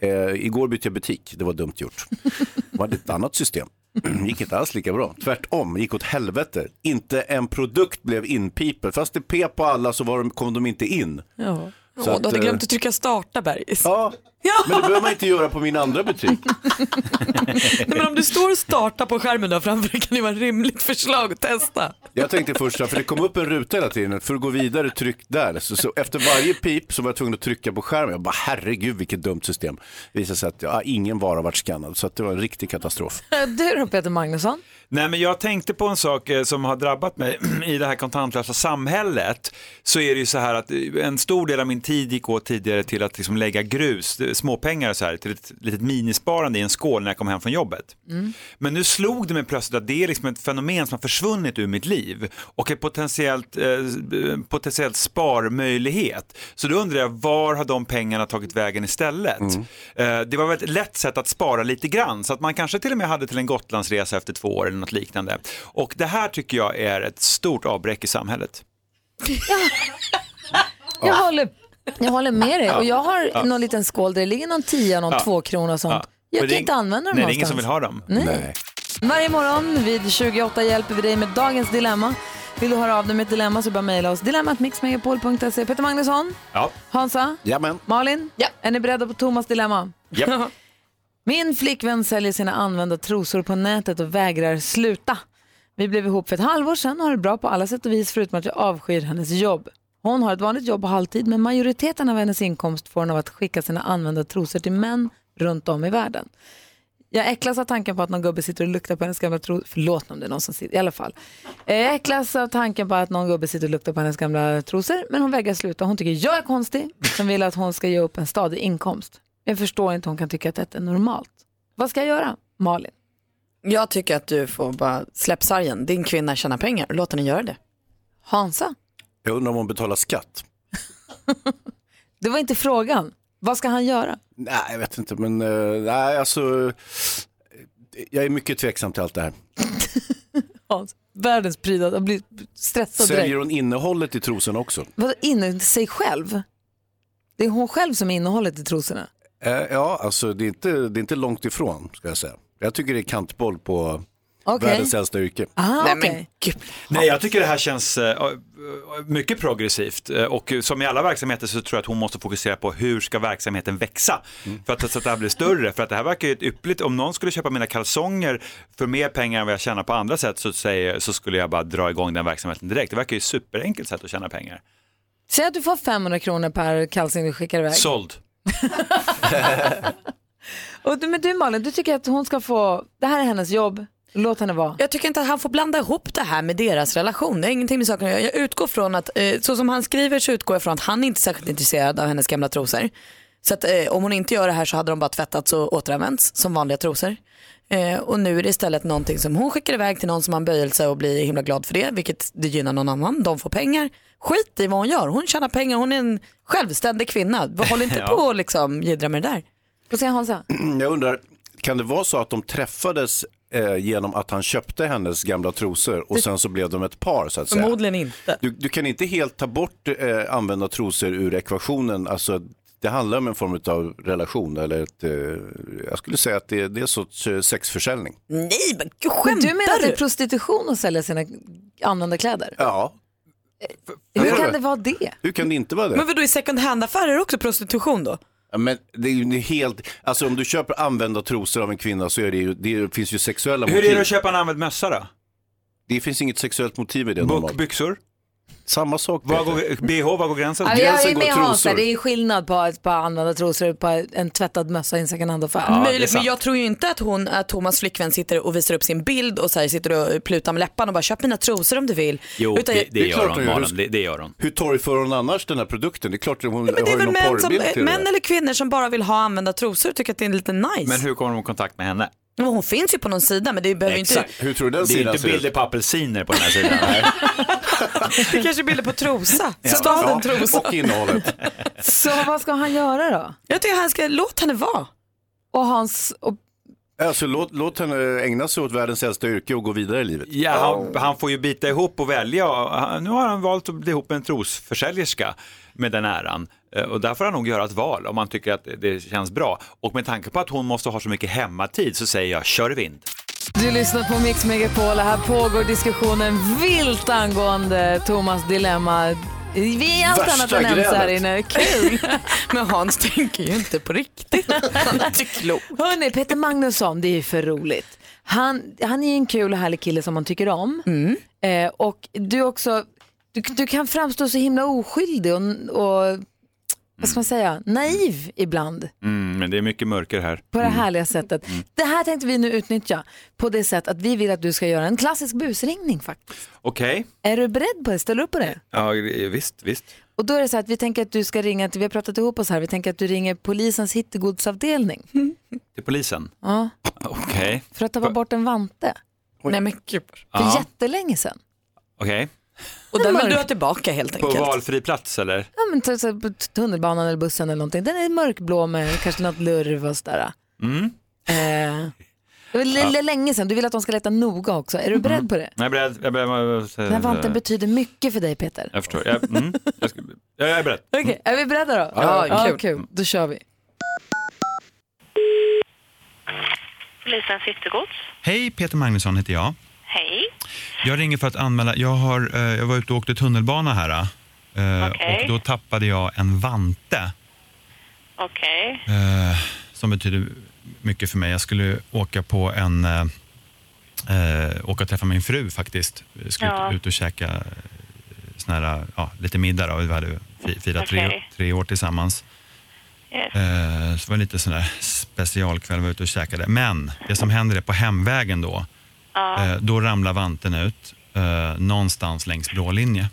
[SPEAKER 3] Eh, igår bytte jag butik, det var dumt gjort. Det var ett annat system. gick inte alls lika bra. Tvärtom, gick åt helvete. Inte en produkt blev inpipad. Fast det pep på alla så var de, kom de inte in.
[SPEAKER 7] Ja.
[SPEAKER 3] Så
[SPEAKER 7] Åh,
[SPEAKER 3] att,
[SPEAKER 7] du hade
[SPEAKER 3] eh,
[SPEAKER 7] glömt att trycka starta Bergis.
[SPEAKER 3] Ja, men det behöver man inte göra på min andra butik.
[SPEAKER 7] Nej, men om du står och startar på skärmen där framför det kan det vara ett rimligt förslag att testa.
[SPEAKER 3] Jag tänkte först, så här, för det kom upp en ruta hela tiden, för att gå vidare tryck där. Så, så efter varje pip så var jag tvungen att trycka på skärmen. Jag bara herregud vilket dumt system. Det visade sig att ja, ingen vara varit skannad, så att det var en riktig katastrof.
[SPEAKER 2] Du då Peter Magnusson?
[SPEAKER 13] Nej, men jag tänkte på en sak eh, som har drabbat mig i det här kontantlösa samhället. Så är det ju så här att eh, en stor del av min tid gick åt tidigare till att liksom lägga grus, eh, småpengar och så här, till ett litet minisparande i en skål när jag kom hem från jobbet.
[SPEAKER 2] Mm.
[SPEAKER 13] Men nu slog det mig plötsligt att det är liksom ett fenomen som har försvunnit ur mitt liv och ett potentiellt, eh, potentiellt sparmöjlighet. Så då undrar jag, var har de pengarna tagit vägen istället? Eh, det var väl ett lätt sätt att spara lite grann, så att man kanske till och med hade till en Gotlandsresa efter två år eller något liknande. Och det här tycker jag är ett stort avbräck i samhället.
[SPEAKER 2] Jag, håller, jag håller med dig.
[SPEAKER 13] Ja.
[SPEAKER 2] Och jag har
[SPEAKER 13] Ja.
[SPEAKER 2] någon liten skål där det ligger någon tia, någon
[SPEAKER 13] Ja.
[SPEAKER 2] två kronor och sånt.
[SPEAKER 13] Ja.
[SPEAKER 2] Jag
[SPEAKER 13] Men
[SPEAKER 2] kan
[SPEAKER 13] det-
[SPEAKER 2] inte använda dem
[SPEAKER 13] Nej, det är
[SPEAKER 2] någonstans.
[SPEAKER 13] ingen som vill ha dem.
[SPEAKER 2] Nej. Varje morgon vid 28 hjälper vi dig med dagens dilemma. Vill du höra av dig med ett dilemma så bara mejla oss. Dilemmatmixmegapol.se. Peter Magnusson,
[SPEAKER 13] Ja.
[SPEAKER 2] Hansa,
[SPEAKER 3] Jamen.
[SPEAKER 2] Malin, ja. är ni beredda på Thomas dilemma?
[SPEAKER 13] Japp.
[SPEAKER 2] Min flickvän säljer sina använda trosor på nätet och vägrar sluta. Vi blev ihop för ett halvår sedan och har det bra på alla sätt och vis förutom att jag avskyr hennes jobb. Hon har ett vanligt jobb på halvtid men majoriteten av hennes inkomst får hon av att skicka sina använda trosor till män runt om i världen. Jag äcklas av tanken på att någon gubbe sitter och luktar på hennes gamla trosor. Förlåt om det är någon som sitter, i alla fall. Eh, Jag äcklas av tanken på att någon gubbe sitter och luktar på hennes gamla trosor men hon vägrar sluta. Hon tycker jag är konstig som vill att hon ska ge upp en stadig inkomst. Jag förstår inte hon kan tycka att detta är normalt. Vad ska jag göra? Malin.
[SPEAKER 7] Jag tycker att du får bara släpp sargen. Din kvinna tjänar pengar, låt henne göra det.
[SPEAKER 2] Hansa,
[SPEAKER 3] Jag undrar om hon betalar skatt.
[SPEAKER 2] det var inte frågan. Vad ska han göra?
[SPEAKER 3] Nej, jag vet inte, men eh, nej, alltså, eh, jag är mycket tveksam till allt det här.
[SPEAKER 2] Hans, världens prydnad. Jag blir stressad
[SPEAKER 3] Säljer
[SPEAKER 2] direkt.
[SPEAKER 3] hon innehållet i trosorna också?
[SPEAKER 2] Vadå in sig själv? Det är hon själv som är innehållet i trosorna.
[SPEAKER 3] Eh, ja, alltså det är, inte, det är inte långt ifrån, ska jag säga. Jag tycker det är kantboll på
[SPEAKER 2] Okej.
[SPEAKER 3] världens äldsta yrke.
[SPEAKER 2] Ah,
[SPEAKER 7] Nej,
[SPEAKER 2] okej.
[SPEAKER 7] men gud.
[SPEAKER 13] Nej, jag tycker det här känns eh, eh, mycket progressivt Eh, och som i alla verksamheter så tror jag att hon måste fokusera på hur ska verksamheten växa för att, så att det här blir större. För att det här verkar ju ett yppligt, om någon skulle köpa mina kalsonger för mer pengar än vad jag tjänar på andra sätt så, säger, så skulle jag bara dra igång den verksamheten direkt. Det verkar ju ett superenkelt sätt att tjäna pengar.
[SPEAKER 2] Säg att du får 500 kronor per kalsing du skickar iväg.
[SPEAKER 13] Såld.
[SPEAKER 2] Och, du- men du Malin, du tycker att hon ska få, det här är hennes jobb, låt henne vara.
[SPEAKER 7] Jag tycker inte att han får blanda ihop det här med deras relation. Det har ingenting med saken att göra. Jag utgår från att, eh, så som han skriver så utgår jag från att han inte är särskilt intresserad av hennes gamla trosor. Så att eh, om hon inte gör det här så hade de bara tvättats och återanvänts som vanliga trosor. Eh, och nu är det istället någonting som hon skickar iväg till någon som har en böjelse och blir himla glad för det, vilket det gynnar någon annan. De får pengar. Skit i vad hon gör. Hon tjänar pengar. Hon är en självständig kvinna. Håll inte
[SPEAKER 3] Ja.
[SPEAKER 7] på och liksom jiddra med det där.
[SPEAKER 2] Vad säger Hansa?
[SPEAKER 3] Jag undrar, kan det vara så att de träffades eh, genom att han köpte hennes gamla trosor och
[SPEAKER 7] Det-
[SPEAKER 3] sen så blev de ett par så att säga?
[SPEAKER 7] Förmodligen inte.
[SPEAKER 3] Du, du kan inte helt ta bort eh, använda trosor ur ekvationen. Alltså, det handlar om en form av relation eller ett, eh, jag skulle säga att det, det är sorts eh, sexförsäljning.
[SPEAKER 7] Nej, men gud,
[SPEAKER 2] skämtar Du menar att det är prostitution att sälja sina använda kläder?
[SPEAKER 3] Ja.
[SPEAKER 2] Hur kan det vara det?
[SPEAKER 3] Hur kan det inte vara det?
[SPEAKER 7] Men vadå, i second hand-affärer också prostitution då?
[SPEAKER 3] Ja, Men det är ju helt, alltså om du köper använda trosor av en kvinna så är det ju, det finns ju sexuella
[SPEAKER 14] Hur
[SPEAKER 3] motiv.
[SPEAKER 14] är det att köpa en använd mössa då?
[SPEAKER 3] Det finns inget sexuellt motiv i det normalt.
[SPEAKER 14] Byxor?
[SPEAKER 3] Samma sak.
[SPEAKER 14] Var går, BH, var går gränsen?
[SPEAKER 2] Ja,
[SPEAKER 3] alltså
[SPEAKER 2] jag är med Hansa, det är skillnad på ett par använda trosor och ett par- en tvättad mössa i en second hand-affär.
[SPEAKER 7] Möjligt, men jag tror ju inte att hon, att Thomas flickvän sitter och visar upp sin bild och så här sitter och plutar med läpparna och bara köp mina trosor om du vill.
[SPEAKER 3] Jo,
[SPEAKER 7] Utan
[SPEAKER 3] det,
[SPEAKER 7] jag-
[SPEAKER 3] det, gör hon,
[SPEAKER 8] Malin.
[SPEAKER 3] det,
[SPEAKER 8] det gör hon.
[SPEAKER 3] Hur torgför hon annars den här produkten? Det är klart att hon
[SPEAKER 7] Men det är
[SPEAKER 3] har ju
[SPEAKER 7] väl
[SPEAKER 3] någon
[SPEAKER 7] män, som,
[SPEAKER 3] porrbild till
[SPEAKER 7] män
[SPEAKER 3] det.
[SPEAKER 7] eller kvinnor som bara vill ha använda trosor tycker att det är lite nice.
[SPEAKER 14] Men hur kommer de i kontakt med henne?
[SPEAKER 7] Men hon finns ju på någon sida men det behöver ju inte...
[SPEAKER 3] Hur tror du
[SPEAKER 14] den Det är
[SPEAKER 3] sidan
[SPEAKER 14] inte
[SPEAKER 3] ser ut?
[SPEAKER 14] bilder på apelsiner på den här sidan. Nej.
[SPEAKER 7] Det är kanske är bilder på trosa.
[SPEAKER 14] Ja.
[SPEAKER 7] Staden
[SPEAKER 14] Ja,
[SPEAKER 7] trosa.
[SPEAKER 14] och innehållet.
[SPEAKER 2] Så vad ska han göra då?
[SPEAKER 7] Jag tycker han ska, låt henne vara.
[SPEAKER 2] Och hans, och
[SPEAKER 3] Alltså låt, låt henne ägna sig åt världens äldsta yrke och gå vidare i livet.
[SPEAKER 14] Ja, han, han får ju bita ihop och välja. Han- Nu har han valt att bli ihop med en trosförsäljerska med den äran. Eh, Och där får han nog göra ett val om han tycker att det känns bra. Och med tanke på att hon måste ha så mycket hemmatid så säger jag kör i vind.
[SPEAKER 2] Du lyssnar på Mix Megapol och här pågår diskussionen vilt angående Thomas dilemma. Vi är allt
[SPEAKER 7] Värsta
[SPEAKER 2] annat än ense här
[SPEAKER 7] grälet.
[SPEAKER 2] inne. Kul!
[SPEAKER 7] Men Hans tänker ju inte på riktigt. Han är inte klok.
[SPEAKER 2] Hörni, Peter Magnusson, det är ju för roligt. Han, han är en kul och härlig kille som man tycker om.
[SPEAKER 7] Mm.
[SPEAKER 2] Eh, och du också, du, du kan framstå så himla oskyldig och, och vad ska man säga, naiv ibland.
[SPEAKER 14] Mm, men det är mycket mörker här.
[SPEAKER 2] På det härliga sättet.
[SPEAKER 14] Mm.
[SPEAKER 2] Det här tänkte vi nu utnyttja på det sätt att vi vill att du ska göra en klassisk busringning faktiskt.
[SPEAKER 14] Okej,
[SPEAKER 2] Är du beredd på det? Ställer du upp på det?
[SPEAKER 14] ja, visst, visst.
[SPEAKER 2] Och då är det så här att vi tänker att du ska ringa, till- vi har pratat ihop oss här, vi tänker att du ringer polisens hittegodsavdelning.
[SPEAKER 7] Mm.
[SPEAKER 14] Till polisen?
[SPEAKER 2] Ja,
[SPEAKER 14] Okej.
[SPEAKER 2] för att tappa bort en vante.
[SPEAKER 7] Nej men gud.
[SPEAKER 2] För
[SPEAKER 14] Ja.
[SPEAKER 2] jättelänge sedan.
[SPEAKER 14] Okej.
[SPEAKER 7] Och den vill du ha tillbaka helt
[SPEAKER 14] På
[SPEAKER 7] enkelt.
[SPEAKER 14] valfri plats eller?
[SPEAKER 2] Ja men till exempel på tunnelbanan eller bussen eller någonting. Den är mörkblå med kanske något lurv och sådär.
[SPEAKER 14] Mm.
[SPEAKER 2] Eh, det var l-
[SPEAKER 14] Ja. Mm.
[SPEAKER 2] länge sedan, du vill att de ska leta noga också. Är du beredd på det?
[SPEAKER 14] Jag är beredd. Jag, är beredd,
[SPEAKER 2] Den här
[SPEAKER 13] Eh,
[SPEAKER 2] vanten betyder mycket för dig Peter.
[SPEAKER 14] jag förstår. Jag, mm, jag, ska, jag är beredd.
[SPEAKER 2] Okej, är vi beredda då?
[SPEAKER 14] Ja,
[SPEAKER 2] ja
[SPEAKER 14] kul.
[SPEAKER 2] kul. Då kör vi.
[SPEAKER 10] Polisens yttergods.
[SPEAKER 13] Hej, Peter Magnusson heter jag.
[SPEAKER 10] Hej.
[SPEAKER 13] Jag ringer för att anmäla. Jag, har, eh, jag var ute och åkte tunnelbana här. eh,
[SPEAKER 10] Okej.
[SPEAKER 13] Och då tappade jag en vante.
[SPEAKER 10] Okej.
[SPEAKER 13] eh, Som betyder mycket för mig. Jag skulle åka på en... eh, eh, åka och träffa min fru faktiskt. Vi skulle ut-
[SPEAKER 10] Ja.
[SPEAKER 13] ut och käka eh, sån här, eh, ja, lite middag. Då. Vi hade fi- firat tre,
[SPEAKER 10] Okej.
[SPEAKER 13] tre år tillsammans. Eh, Så det var lite sån där specialkväll, vi var ute och käkade. Men det som händer är på hemvägen då, eh, då ramlar vanten ut eh, någonstans längs blå linje.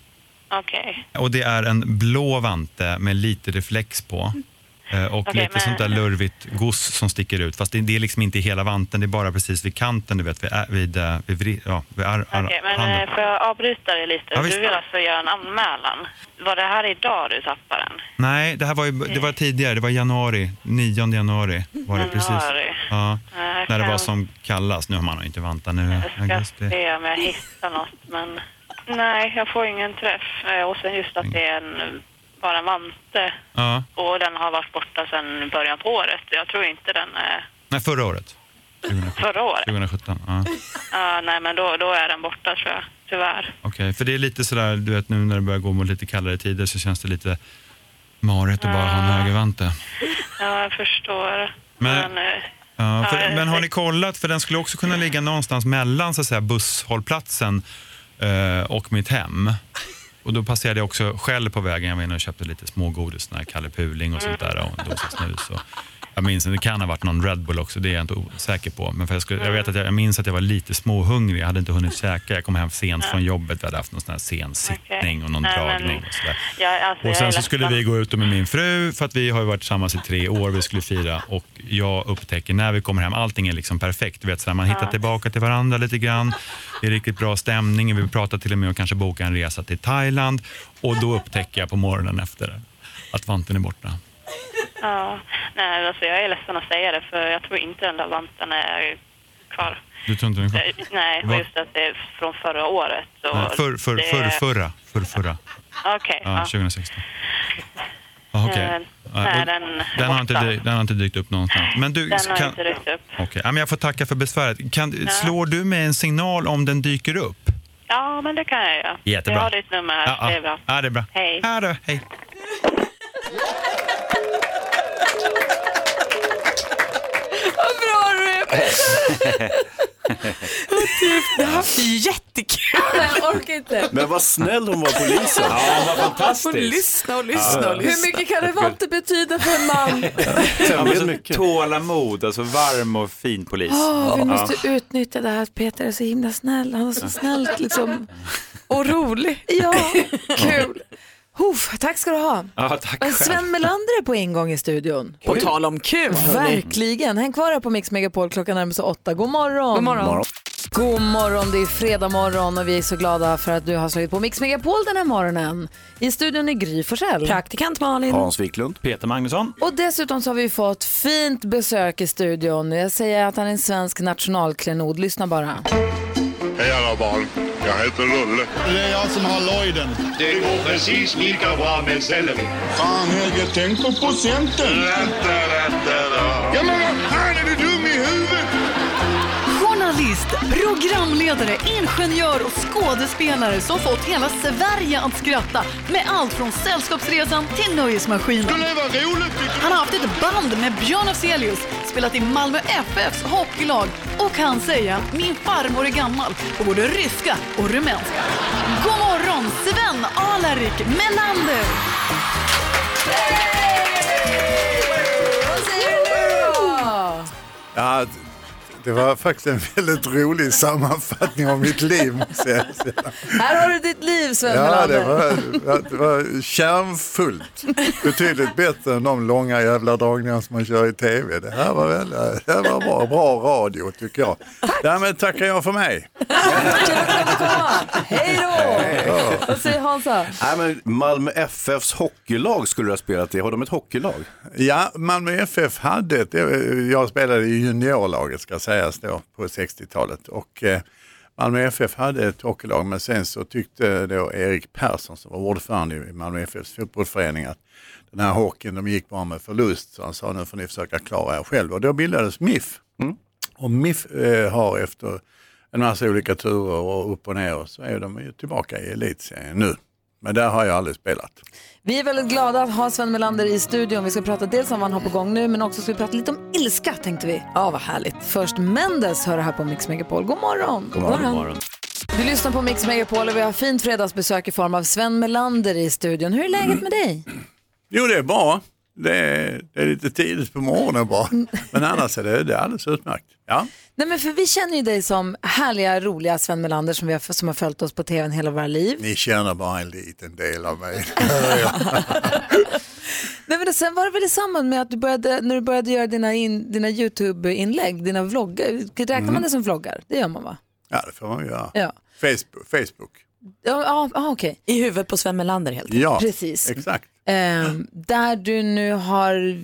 [SPEAKER 10] Okej.
[SPEAKER 13] Och det är en blå vante med lite reflex på. eh, Och
[SPEAKER 10] Okej,
[SPEAKER 13] lite
[SPEAKER 10] men-
[SPEAKER 13] sånt där lurvigt goss som sticker ut. Fast det, det är liksom inte i hela vanten, det är bara precis vid kanten, du vet, vid, ä- vid, eh, vid, vri- ja, vid ar, ar,
[SPEAKER 10] Okej, men
[SPEAKER 13] handen.
[SPEAKER 10] eh, får jag avbryta dig lite?
[SPEAKER 13] Ja, visst.
[SPEAKER 10] du vill alltså göra en anmälan. Var det här idag du tappade den?
[SPEAKER 13] Nej, det här var, ju, det var tidigare, det var januari, 9 januari var det precis.
[SPEAKER 10] Januari.
[SPEAKER 13] Ja,
[SPEAKER 10] Nej,
[SPEAKER 13] när det var
[SPEAKER 10] kan-
[SPEAKER 13] som kallast. Nu har man ju inte vantat nu.
[SPEAKER 10] Jag
[SPEAKER 13] Augusti.
[SPEAKER 10] ska se om jag hittar något, men nej, jag får ingen träff. Eh, Och sen just att det är en, bara en vante
[SPEAKER 13] Ja,
[SPEAKER 10] och den har varit borta sedan början på året. Jag tror inte den är
[SPEAKER 13] nej, förra året.
[SPEAKER 10] förra året.
[SPEAKER 13] 2017. Ja. Okej,
[SPEAKER 10] Ja, nej, men då, då är den borta tror jag, tyvärr.
[SPEAKER 13] för det är lite sådär, du vet nu när det börjar gå mot lite kallare tider så känns det lite marigt att bara ha
[SPEAKER 10] Mm.
[SPEAKER 13] en högervante.
[SPEAKER 10] Ja, jag förstår.
[SPEAKER 13] Men-
[SPEAKER 10] eh,
[SPEAKER 13] Ja,
[SPEAKER 10] Ja,
[SPEAKER 13] för, men har ni kollat, för den skulle också kunna ligga någonstans mellan så att säga, busshållplatsen eh, och mitt hem. Och då passerade jag också själv på vägen, jag var inne och köpte lite smågodis, sån här Kalle Puling och sånt där och en dosa snus. Och, Jag minns inte, det kan ha varit någon Red Bull också, det är jag inte osäker på. Men för jag, skulle, jag vet att jag, jag minns att jag var lite småhungrig, jag hade inte hunnit käka. Jag kom hem sent från jobbet, vi hade haft någon sån här sen sittning och någon
[SPEAKER 10] Nej, men-
[SPEAKER 13] dragning och sådär.
[SPEAKER 10] Ja, alltså,
[SPEAKER 13] Och
[SPEAKER 10] jag är
[SPEAKER 13] sen så skulle
[SPEAKER 10] ledsen.
[SPEAKER 13] vi gå ut med min fru, för att vi har ju varit tillsammans i tre år, vi skulle fira och jag upptäcker när vi kommer hem, allting är liksom perfekt. Du vet, så här, man hittar
[SPEAKER 10] Ja.
[SPEAKER 13] tillbaka till varandra lite grann, det är riktigt bra stämning, vi pratar till och med om kanske boka en resa till Thailand och då upptäcker jag på morgonen efter att vanten är borta.
[SPEAKER 10] Ja. Nej, alltså, jag är ledsen att säga det, för jag tror inte den där vanten är kvar.
[SPEAKER 13] Du tror inte den är kvar?
[SPEAKER 10] Eh, Nej, och
[SPEAKER 13] Va?
[SPEAKER 10] just att det är från förra året. och
[SPEAKER 13] Nej, För, för,
[SPEAKER 10] det-
[SPEAKER 13] för, förra, för, förra.
[SPEAKER 10] Okej.
[SPEAKER 13] Ja, 2016. Ah, okej.
[SPEAKER 10] Eh,
[SPEAKER 13] Ja,
[SPEAKER 10] nej,
[SPEAKER 13] och
[SPEAKER 10] den är
[SPEAKER 13] har inte,
[SPEAKER 10] borta.
[SPEAKER 13] dy- den har inte dykt upp någonstans. Men du,
[SPEAKER 10] Den har
[SPEAKER 13] kan,
[SPEAKER 10] inte dykt upp.
[SPEAKER 13] Okej, ja, men jag får tacka för besväret. Kan, slår du mig en signal om den dyker upp?
[SPEAKER 10] Ja, men det kan jag göra.
[SPEAKER 13] Jättebra.
[SPEAKER 10] Jag har ditt nummer här.
[SPEAKER 13] Ja, ja.
[SPEAKER 10] Det är bra.
[SPEAKER 13] Ja, det är bra.
[SPEAKER 10] Hej.
[SPEAKER 13] Ja, då, hej.
[SPEAKER 7] Vad bra du är! Det här var jättekul.
[SPEAKER 2] Jag orkar inte.
[SPEAKER 3] Men vad snäll hon var polisen.
[SPEAKER 2] Ja, hon var fantastisk.
[SPEAKER 3] Hon
[SPEAKER 7] lyssna och
[SPEAKER 15] lyssna och lyssna.
[SPEAKER 2] Hur mycket kan det vante betyda för en man?
[SPEAKER 15] Tämligen mycket. Tålamod, alltså varm och fin polis.
[SPEAKER 2] Åh, vi måste utnyttja det här att Peter är så himla snäll. Han är så snällt liksom. Och rolig. Ja, kul. Hoof, tack ska du ha.
[SPEAKER 15] Ja, tack
[SPEAKER 2] Men
[SPEAKER 15] själv.
[SPEAKER 2] Sven Melander är på ingång i studion.
[SPEAKER 7] På tal om kul.
[SPEAKER 2] Verkligen. Häng kvar här på Mix Megapol. Klockan närmar sig åtta. God morgon.
[SPEAKER 7] God morgon. Morgon.
[SPEAKER 2] God morgon. Det är fredag morgon och vi är så glada för att du har slagit på Mix Megapol den här morgonen. I studion är Gry Forssell.
[SPEAKER 7] Praktikant Malin.
[SPEAKER 15] Hans Wiklund. Peter Magnusson.
[SPEAKER 2] Och dessutom så har vi fått fint besök i studion. Jag säger att han är en svensk nationalklenod. Lyssna bara.
[SPEAKER 5] Hej alla barn, jag heter Rulle. Det är jag som har Lloyden. Det går precis lika bra med selleri. Fan Helge, tänk på procenten. Vänta, vänta då. Ja men vad fan är du dum i huvudet?
[SPEAKER 16] Journalist, programledare, ingenjör och skådespelare som fått hela Sverige att skratta med allt från Sällskapsresan till Nöjesmaskinen. Han har haft ett band med Björn Afzelius, spelat i Malmö FFs hockeylag och han säger att min farmor är gammal och både ryska och rumänska. God morgon Sven Alarik Melander!
[SPEAKER 2] Vad säger du då?
[SPEAKER 17] Ja, det var faktiskt en väldigt rolig sammanfattning av mitt liv. Måste jag säga.
[SPEAKER 2] Här har du ditt liv, Sven
[SPEAKER 17] Ja,
[SPEAKER 2] Melander.
[SPEAKER 17] det var, det var kärnfullt. Betydligt bättre än de långa jävla dragningar som man kör i tv. Det här var, väl, det här var bra, bra radio tycker jag. Därmed tackar jag för mig.
[SPEAKER 2] Hej då! Vad säger Hansa?
[SPEAKER 3] Nej, men Malmö FFs hockeylag skulle du ha spelat i. Har de ett hockeylag?
[SPEAKER 17] Ja, Malmö FF hade ett, eh, jag spelade i juniorlaget ska sägas då på 60-talet och eh, Malmö FF hade ett hockeylag men sen så tyckte då Erik Persson som var ordförande i Malmö FFs fotbollsförening att den här hockeyn de gick bara med förlust så han sa nu får ni försöka klara er själva och då bildades MIF.
[SPEAKER 2] Mm.
[SPEAKER 17] Och MIF eh, har efter en massa olika turer och upp och ner så är de ju tillbaka i elitserien nu. Men där har jag aldrig spelat.
[SPEAKER 2] Vi är väldigt glada att ha Sven Melander i studion. Vi ska prata dels om vad han har på gång nu, men också ska vi prata lite om ilska, tänkte vi.
[SPEAKER 7] Ja, vad härligt.
[SPEAKER 2] Först Mendes hör det här på Mix Megapol. God morgon! Du lyssnar på Mix Megapol och vi har fint fredagsbesök i form av Sven Melander i studion. Hur är läget med dig?
[SPEAKER 17] Jo, det är bra. Det är, det är lite tidigt på morgonen bara. Men annars är det, det är alldeles utmärkt. Ja.
[SPEAKER 2] Nej, men för vi känner ju dig som härliga, roliga Sven Melander som, vi har, som har följt oss på tvn hela våra liv.
[SPEAKER 17] Ni känner bara en liten del av mig.
[SPEAKER 2] Nej, men sen var det väl i samband med att du började, när du började göra dina, in, dina YouTube-inlägg, dina vloggar, räknar man
[SPEAKER 17] Mm.
[SPEAKER 2] det som vloggar? Det gör man va?
[SPEAKER 17] Ja, det får man göra.
[SPEAKER 2] Ja.
[SPEAKER 17] Facebook. Facebook.
[SPEAKER 2] Ja, ja, ja okej.
[SPEAKER 7] I huvudet på Sven Melander helt
[SPEAKER 17] Ja,
[SPEAKER 2] Precis.
[SPEAKER 17] exakt.
[SPEAKER 2] Ehm, där du nu har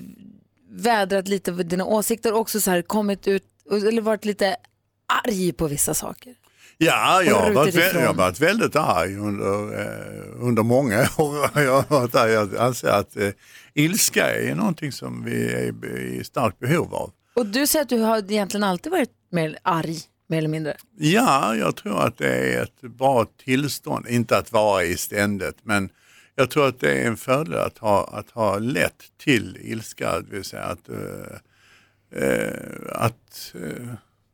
[SPEAKER 2] vädrat lite av dina åsikter och också så här kommit ut, eller varit lite arg på vissa saker.
[SPEAKER 17] Ja, jag har,
[SPEAKER 2] ruter
[SPEAKER 17] varit, vä-
[SPEAKER 2] ifrån.
[SPEAKER 17] jag har varit väldigt arg under, eh, under många år. Jag, har varit arg. jag anser att eh, ilska är någonting som vi är i starkt behov av.
[SPEAKER 2] Och du säger att du har egentligen alltid varit mer arg, mer eller mindre.
[SPEAKER 17] Ja, jag tror att det är ett bra tillstånd, inte att vara i ständigt, men jag tror att det är en fördel att ha, att ha lätt till ilska, det vill säga att, eh, eh, att eh,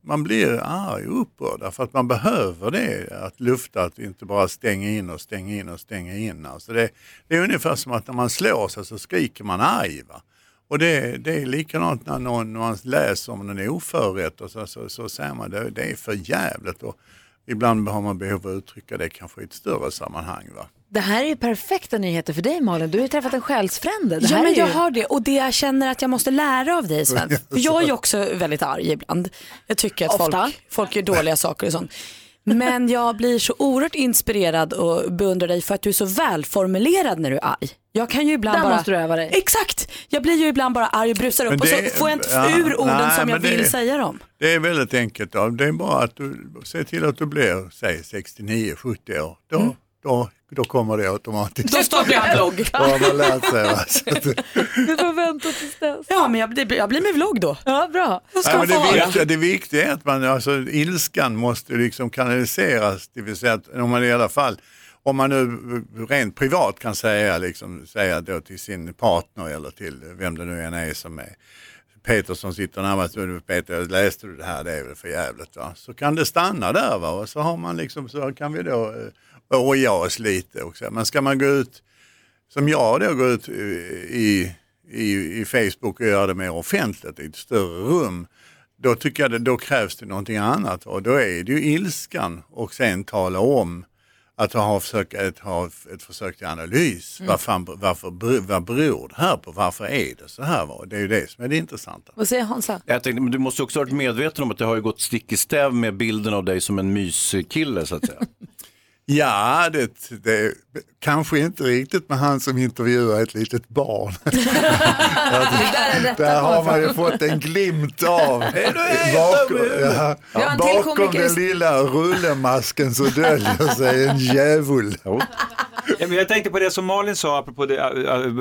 [SPEAKER 17] man blir arg och upprörd, därför att man behöver det, att lufta, att inte bara stänga in och stänga in och stänga in. Alltså det, det är ungefär som att när man slår sig så skriker man arg. Va? Och det, det är likadant när någon, någon läser om en oförrätt och så, så, så säger man det, det är för jävligt. Och ibland har man behov av att uttrycka det kanske i ett större sammanhang. Va?
[SPEAKER 2] Det här är ju perfekta nyheter för dig Malin. Du har ju träffat en själsfrände. Det
[SPEAKER 7] Ja,
[SPEAKER 2] här
[SPEAKER 7] men
[SPEAKER 2] är
[SPEAKER 7] jag
[SPEAKER 2] ju...
[SPEAKER 7] har det och det jag känner att jag måste lära av dig Sven. För jag är ju också väldigt arg ibland. Jag tycker att
[SPEAKER 2] Ofta.
[SPEAKER 7] folk, folk gör dåliga saker och sånt. Men jag blir så oerhört inspirerad och beundrar dig för att du är så välformulerad när du är arg. Jag kan ju ibland
[SPEAKER 2] Där
[SPEAKER 7] bara...
[SPEAKER 2] måste du öva dig.
[SPEAKER 7] Exakt! Jag blir ju ibland bara arg och brusar upp
[SPEAKER 17] Men
[SPEAKER 7] och så
[SPEAKER 17] det-
[SPEAKER 7] får jag inte
[SPEAKER 17] ja,
[SPEAKER 7] ur orden
[SPEAKER 17] nej,
[SPEAKER 7] som jag
[SPEAKER 17] men det-
[SPEAKER 7] vill säga dem.
[SPEAKER 17] Det är väldigt enkelt. Då. Det är bara att du ser till att du blir säg 69-70 år. Då, då, då kommer det automatiskt.
[SPEAKER 7] Då startar jag en blogg.
[SPEAKER 17] Då har man lärt sig. Va? Så att,
[SPEAKER 7] Du får vänta tills dess. Ja, men jag, blir- jag blir med vlogg då.
[SPEAKER 2] Ja, bra.
[SPEAKER 17] Nej, men det, viktiga, det viktiga är att man, alltså, ilskan måste liksom kanaliseras, det vill säga att om man i alla fall, om man nu rent privat kan säga, liksom, säga då till sin partner eller till vem det nu än är som är Peter som sitter närmast, "Du, Peter jag läste du det här, det är väl för jävligt va? Så kan det stanna där va? och så har man liksom, så kan vi då eh, oja oss lite också. Men ska man gå ut, som jag då går ut eh, i, i, i Facebook och gör det mer offentligt i ett större rum, då tycker jag det, då krävs det någonting annat och då är det ju ilskan och sen tala om att ha försök, ett, ha ett försök till analys.
[SPEAKER 2] Mm.
[SPEAKER 17] Vad, fan, varför, bero- vad beror det här på? Varför är det så här? va? Det är ju det som är det intressanta.
[SPEAKER 2] Vad säger Hansa?
[SPEAKER 3] Jag tänkte, men du måste också ha varit medveten om att det har ju gått stick i stäv med bilden av dig som en myskille så att säga.
[SPEAKER 17] Ja, det, det kanske inte riktigt med han som intervjuar ett litet barn. Där har man ju fått en glimt av bakom, ja,
[SPEAKER 2] Vi har en till
[SPEAKER 17] bakom
[SPEAKER 2] komiker i-
[SPEAKER 17] den lilla rullemasken så döljer sig en djävul.
[SPEAKER 13] Ja, men jag tänkte på det som Malin sa apropå det, äh,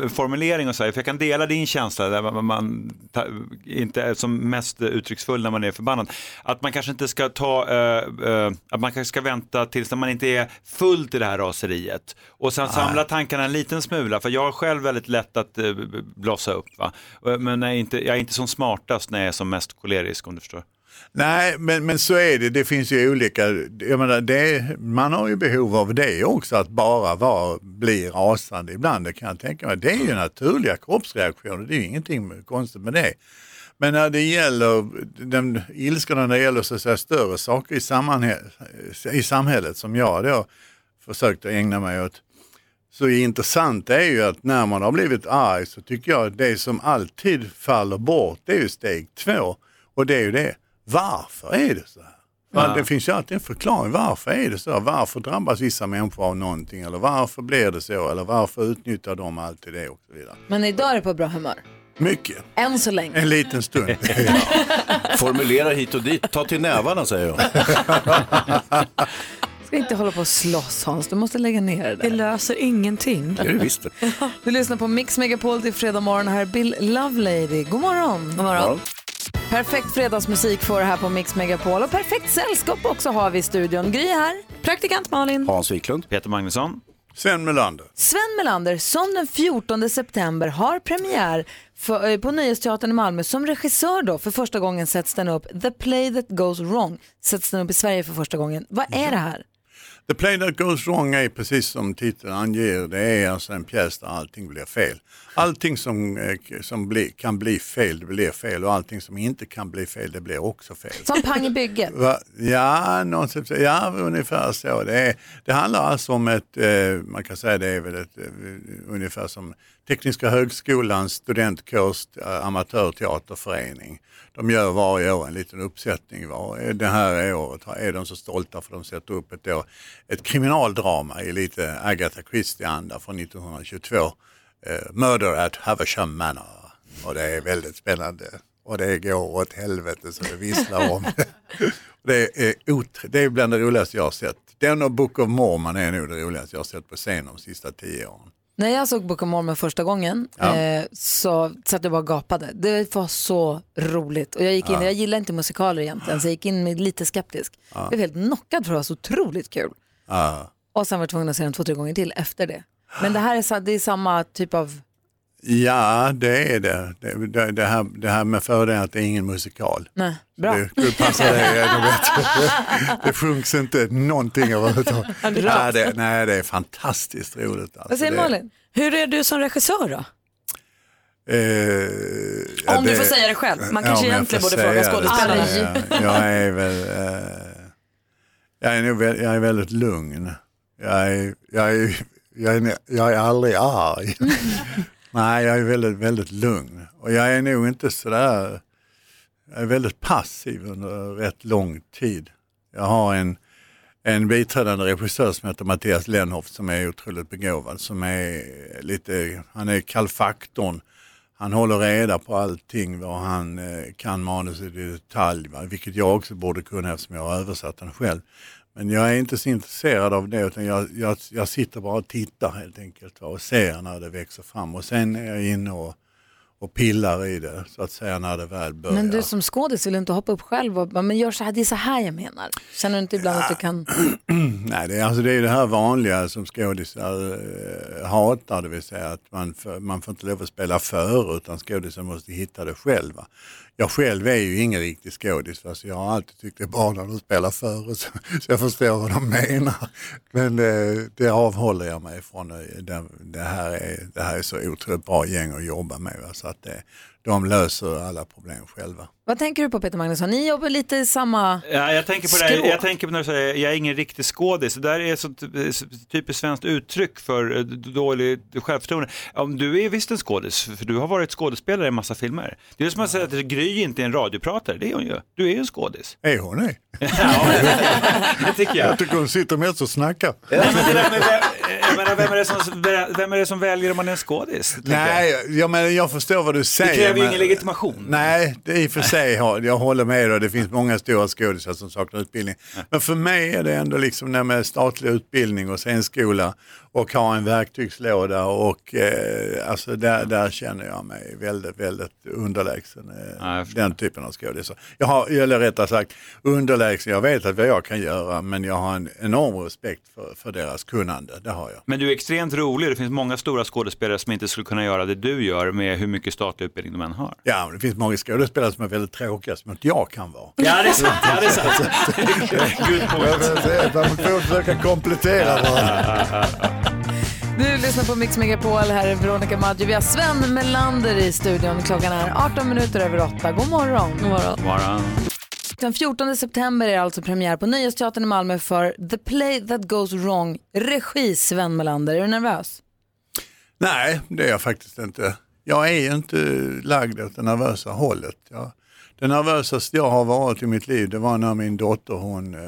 [SPEAKER 13] äh, formulering och så här, för jag kan dela din känsla där man, man ta, inte är som mest uttrycksfull när man är förbannad. Att man kanske inte ska ta, äh, äh, att man kanske ska vänta tills när man inte är fullt i det här raseriet och
[SPEAKER 3] Ah.
[SPEAKER 13] sen samla tankarna en liten smula, för jag har själv väldigt lätt att äh, blossa upp. Va? Och- Men jag är, inte, jag är inte som smartast när jag är som mest kolerisk om du förstår.
[SPEAKER 17] Nej, men, men så är det. Det finns ju olika, jag menar, det, man har ju behov av det också, att bara vara, bli rasande ibland. Det kan jag tänka mig. Det är ju naturliga kroppsreaktioner, det är ju ingenting konstigt med det. Men när det gäller den ilskorna när det gäller så att säga, större saker i, sammanhä- i samhället som jag då försökt att ägna mig åt, så det intressanta är ju att när man har blivit arg så tycker jag att det som alltid faller bort det är ju steg två. Och det är ju det, varför är det så här?
[SPEAKER 18] Ja.
[SPEAKER 17] Ja. Det finns ju alltid en förklaring, varför är det så? här? Varför drabbas vissa människor av någonting? Eller varför blir det så? Eller varför utnyttjar de alltid det? Och så vidare.
[SPEAKER 2] Men idag är det på bra humör.
[SPEAKER 17] Mycket,
[SPEAKER 2] Än så länge.
[SPEAKER 17] en liten stund.
[SPEAKER 3] Formulera hit och dit, ta till nävarna säger jag.
[SPEAKER 2] Ska inte hålla på och slåss Hans, du måste lägga ner det där. Det
[SPEAKER 7] löser ingenting.
[SPEAKER 3] Det är det visst det.
[SPEAKER 2] Du lyssnar på Mix Megapol till fredag morgon. Här är Bill Lovelady. God morgon. God
[SPEAKER 7] morgon.
[SPEAKER 2] Perfekt fredagsmusik får du här på Mix Megapol och perfekt sällskap också har vi i studion. Gry här, praktikant Malin.
[SPEAKER 3] Hans Wiklund.
[SPEAKER 13] Peter Magnusson.
[SPEAKER 17] Sven Melander.
[SPEAKER 2] Sven Melander som den 14 september har premiär för, eh, på Nöjesteatern i Malmö som regissör då. För första gången sätts den upp. The Play That Goes Wrong sätts den upp i Sverige för första gången. Vad är det här?
[SPEAKER 17] The play that goes wrong är precis som titeln anger, det är alltså en pjäs där allting blir fel. Allting som, eh, som bli, kan bli fel, det blir fel och allting som inte kan bli fel, det blir också fel.
[SPEAKER 2] Som pang i bygget.
[SPEAKER 17] Va? Ja, någon, typ så- ja, ungefär så. Det, är, det handlar alltså om ett, eh, man kan säga det är väl ett, eh, ungefär som Tekniska högskolans studentkurs, eh, amatörteaterförening. De gör varje år en liten uppsättning. Var. eh, Det här året har- är de så stolta för de sätter upp ett, då, ett kriminaldrama i lite Agatha Christie-anda från 1922. Eh, Murder at Havisham Manor. Och det är väldigt spännande. Och det går åt helvete så det visslar om. Det är, otr- det är bland det roligaste jag har sett. Den och Book of Mormon är nog det roligaste jag har sett på scen de sista tio åren.
[SPEAKER 2] När jag såg Book of Mormon första gången
[SPEAKER 17] Ja.
[SPEAKER 2] eh, så satt jag bara och gapade. Det var så roligt. Och jag gick in,
[SPEAKER 17] Ja.
[SPEAKER 2] jag gillar inte musikaler egentligen, så jag gick in med lite skeptisk.
[SPEAKER 17] Ja.
[SPEAKER 2] Jag blev helt knockad för det var så otroligt kul.
[SPEAKER 17] Ja.
[SPEAKER 2] Och sen var jag tvungen att se den två, tre gånger till efter det. Men det här är, sa- det är samma typ av,
[SPEAKER 17] Ja, det är det. Det, det, det, här, det här med fördelen att det är ingen musikal.
[SPEAKER 5] Mm.
[SPEAKER 2] nej, bra.
[SPEAKER 17] Det, det passar dig ännu bättre. Det sjungs inte någonting överhuvudtaget. Nej, det, nej, det är fantastiskt roligt. Alltså, det,
[SPEAKER 7] Hur är du som regissör då?
[SPEAKER 17] Eh, ja,
[SPEAKER 6] Om du får säga det själv. Man kanske
[SPEAKER 17] om jag
[SPEAKER 6] egentligen
[SPEAKER 17] får
[SPEAKER 6] borde fråga
[SPEAKER 17] säga det,
[SPEAKER 6] skådespelarna.
[SPEAKER 17] så är Jag, jag är väl... Eh, jag, är nog, väl- jag är väldigt lugn. Jag är, jag är, jag är, jag är aldrig arg. Nej, jag är väldigt, väldigt lugn. Och jag är nog inte sådär... Jag är väldigt passiv under rätt lång tid. Jag har en, en biträdande regissör som heter Mattias Lenhoff som är otroligt begåvad. Som är lite, han är kallfaktorn. Han håller reda på allting vad han eh, kan manuset i detalj. Va? Vilket jag också borde kunna eftersom jag har översatt den själv. Men jag är inte så intresserad av det utan jag, jag, jag sitter bara och tittar helt enkelt va? och ser när det växer fram. Och sen är jag inne och, och pillar i det så att säga när det väl börjar.
[SPEAKER 2] Men du som skådis vill du inte hoppa upp själv och bara, men gör så här, det är så här jag menar. Känner du inte ibland att du kan?
[SPEAKER 17] Nej, det är, alltså det är ju det här vanliga som skådisar eh, hatar, det vill säga att man, för, man får inte lov att spela för utan skådisar måste hitta det själva. Jag själv är ju ingen riktig skådis, va, så jag har alltid tyckt det är bra när de spelar för så, så jag förstår vad de menar. Men eh, det avhåller jag mig från. eh, Det, det, här, är, det här är så otroligt bra gäng att jobba med va, så att eh, de löser alla problem själva.
[SPEAKER 2] Vad tänker du på Peter Magnusson? Ni jobbar lite i samma...
[SPEAKER 13] Ja, jag tänker på det här,
[SPEAKER 2] Skrå.
[SPEAKER 13] jag tänker på när du säger jag är ingen riktig skådis. Det där är ett sånt typiskt svenskt uttryck för eh, dåligt självförtroende. Om du är visst en skådis, för du har varit skådespelare i en massa filmer. Det är som att säga att Gry inte är en radiopratare, det är hon ju. Du är ju en skådis.
[SPEAKER 17] Är hon det?
[SPEAKER 13] Det tycker jag.
[SPEAKER 17] Jag tycker hon sitter mest och snackar.
[SPEAKER 13] Jag menar, vem, är det som, vem är det som väljer om man är en skådis? tänker
[SPEAKER 17] Nej, jag, menar, jag förstår vad du
[SPEAKER 13] jag.
[SPEAKER 17] säger.
[SPEAKER 13] Det kräver ju
[SPEAKER 17] men-
[SPEAKER 13] ingen legitimation.
[SPEAKER 17] Nej, det är i och för sig, har- jag håller med dig, det finns många stora skådisar som saknar utbildning. Men för mig är det ändå liksom det här med statlig utbildning och scenskola och ha en verktygslåda och eh, alltså där, där känner jag mig väldigt, väldigt underlägsen. Eh, den typen av skådisar. Jag har, eller rättare sagt, underlägsen, jag vet att vad jag kan göra men jag har en enorm respekt för, för deras kunnande, det har jag.
[SPEAKER 13] Men du är extremt rolig, det finns många stora skådespelare som inte skulle kunna göra det du gör med hur mycket statlig utbildning de än har.
[SPEAKER 17] Ja, men det finns många skådespelare som är väldigt tråkiga som inte jag kan vara.
[SPEAKER 13] Ja, det är sant. Ja, det är sant. Good
[SPEAKER 17] point. Man får försöka komplettera varandra.
[SPEAKER 2] Du lyssnar på Mix Megapol, här är Veronica Maggio. Vi har Sven Melander i studion. Klockan är 18 minuter över 8. God morgon. God morgon. Den 14 september är alltså premiär på Nöjesteatern i Malmö för The Play That Goes Wrong, regi Sven Melander. Är du nervös?
[SPEAKER 17] Nej, det är jag faktiskt inte. Jag är ju inte lagd åt det nervösa hållet. Jag, det nervösaste jag har varit i mitt liv det var när min dotter hon eh,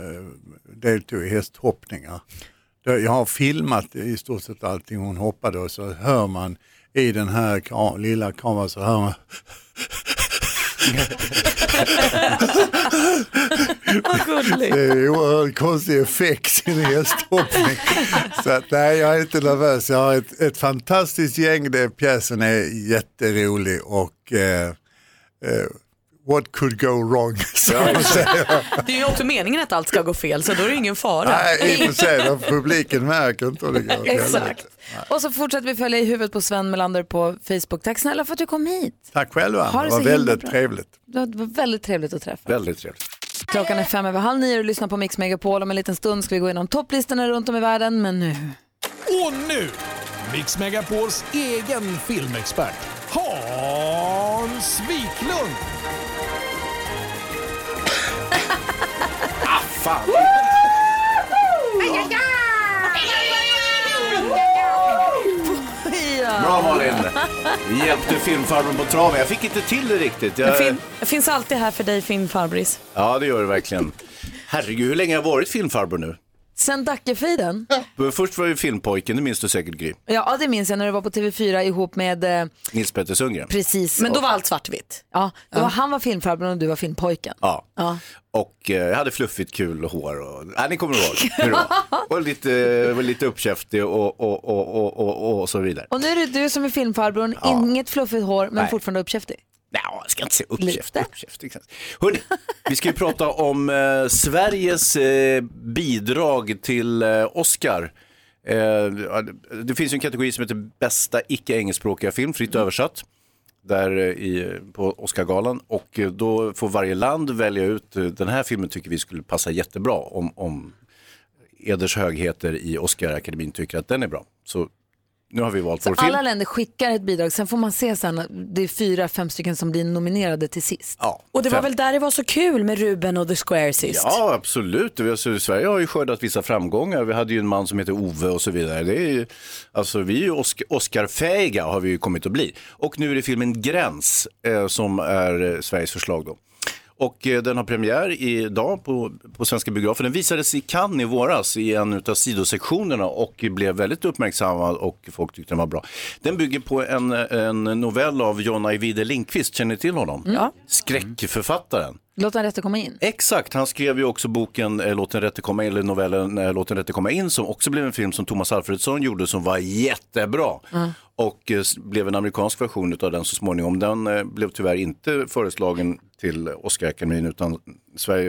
[SPEAKER 17] deltog i hästhoppningar. Det- Jag har filmat i stort sett allting hon hoppade och så hör man i den här ka- lilla kameran så hör man Det är oerhört konstig effekt i en hästhoppning. Så att, nej, jag är inte nervös. Jag har ett, ett fantastiskt gäng. Det, pjäsen är jätterolig och eh, eh, what could go wrong? Så man säger.
[SPEAKER 6] Det är ju också meningen att allt ska gå fel så då är det ingen fara.
[SPEAKER 17] nej, i och för sig, då publiken märker inte om det går åt helvete.
[SPEAKER 2] Exakt. Och så fortsätter vi följa i huvudet på Sven Melander på Facebook. Tack snälla för att du kom hit.
[SPEAKER 17] Tack själva,
[SPEAKER 2] Ha det
[SPEAKER 17] det
[SPEAKER 2] så
[SPEAKER 17] var
[SPEAKER 2] himla
[SPEAKER 17] väldigt
[SPEAKER 2] bra.
[SPEAKER 17] trevligt.
[SPEAKER 2] Det var väldigt trevligt att träffa.
[SPEAKER 3] Väldigt trevligt.
[SPEAKER 2] Klockan är fem över halv nio och du lyssnar på Mix Megapol. Om en liten stund ska vi gå igenom topplistorna runt om i världen, men nu...
[SPEAKER 19] Och nu, Mix Megapols egen filmexpert Hans Wiklund! ah, fan!
[SPEAKER 3] Bra Malin! Hjälpte filmfarbrorn på traven. Jag fick inte till det riktigt.
[SPEAKER 6] Det
[SPEAKER 3] Jag...
[SPEAKER 6] fin- det finns alltid här för dig Finn Farbris.
[SPEAKER 3] Ja, det gör det verkligen. Herregud, hur länge har jag varit filmfarbror nu?
[SPEAKER 2] Sen Dackefejden.
[SPEAKER 3] Först var jag ju filmpojken, det minns du säkert Gry.
[SPEAKER 2] Ja, det minns jag när du var på TV4 ihop med... Eh,
[SPEAKER 3] Nils Petter Sundgren.
[SPEAKER 2] precis.
[SPEAKER 3] Men då
[SPEAKER 2] Och-
[SPEAKER 3] var
[SPEAKER 6] allt svartvitt.
[SPEAKER 2] Ja, då var han var filmfarbrorn och du var filmpojken.
[SPEAKER 3] Ja.
[SPEAKER 2] Ja.
[SPEAKER 3] Och eh, jag hade fluffigt kul hår och, ja, ni kommer ihåg hur det var. Och lite, eh, var lite uppkäftig och, och, och, och, och, och så vidare.
[SPEAKER 2] Och nu är det du som är filmfarbrorn, inget fluffigt hår men
[SPEAKER 3] Nej.
[SPEAKER 2] fortfarande uppkäftig.
[SPEAKER 3] Nej, jag ska inte säga uppkäft. uppkäft exakt. Hörrni, vi ska ju prata om eh, Sveriges eh, bidrag till eh, Oscar. Eh, ja, det- det finns ju en kategori som heter bästa icke engelskspråkiga film, fritt
[SPEAKER 6] Mm.
[SPEAKER 3] översatt, där eh, i, på Oscargalan. Och eh, då får varje land välja ut, eh, den här filmen tycker vi skulle passa jättebra om, om Eders högheter i Oscarakademin tycker att den är bra. Så nu har vi valt
[SPEAKER 2] Så
[SPEAKER 3] vår
[SPEAKER 2] alla
[SPEAKER 3] film.
[SPEAKER 2] länder skickar ett bidrag, sen får man se sen, det är fyra, fem stycken som blir nominerade till sist.
[SPEAKER 3] Ja,
[SPEAKER 6] Och det var
[SPEAKER 3] fem.
[SPEAKER 6] väl där det var så kul med Ruben och The Square sist?
[SPEAKER 3] Ja, absolut. Vi har- så Sverige har ju skördat vissa framgångar. Vi hade ju en man som heter Ove och så vidare. Det är ju, alltså, vi är ju Osc- Oscarfähiga har vi ju kommit att bli. Och nu är det filmen Gräns eh, som är eh, Sveriges förslag då. Och eh, den har premiär idag på, på svenska biografer. Den visades i Cannes i våras i en av sidosektionerna och blev väldigt uppmärksammad och folk tyckte den var bra. Den bygger på en, en novell av John Ajvide Lindqvist, känner ni till honom?
[SPEAKER 2] Ja.
[SPEAKER 3] Skräckförfattaren.
[SPEAKER 2] Låt den rätte komma in.
[SPEAKER 3] Exakt, han skrev ju också boken eh, Låt den rätte komma in, eller novellen eh, Låt den rätte komma in som också blev en film som Thomas Alfredsson gjorde som var jättebra. Och eh, s- blev en amerikansk version av den så småningom. Den eh, blev tyvärr inte föreslagen till Oscarakademin utan Sverige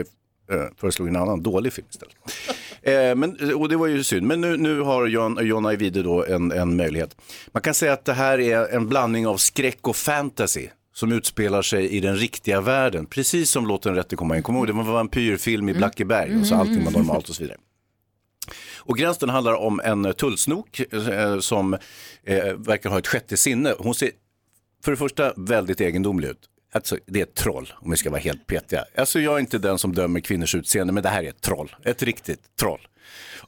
[SPEAKER 3] eh, föreslog en annan dålig film istället. Eh, men, och det var ju synd. Men nu, nu har John, John Ajvide då en, en möjlighet. Man kan säga att det här är en blandning av skräck och fantasy som utspelar sig i den riktiga världen. Precis som låten Rätte komma in. Kommer ihåg, det var en vampyrfilm i Blackeberg och så allting var normalt och så vidare. Och gränsen handlar om en tullsnok eh, som eh, verkar ha ett sjätte sinne. Hon ser för det första väldigt egendomlig ut. Alltså, det är ett troll om vi ska vara helt petiga. Alltså, jag är inte den som dömer kvinnors utseende, men det här är ett troll. Ett riktigt troll.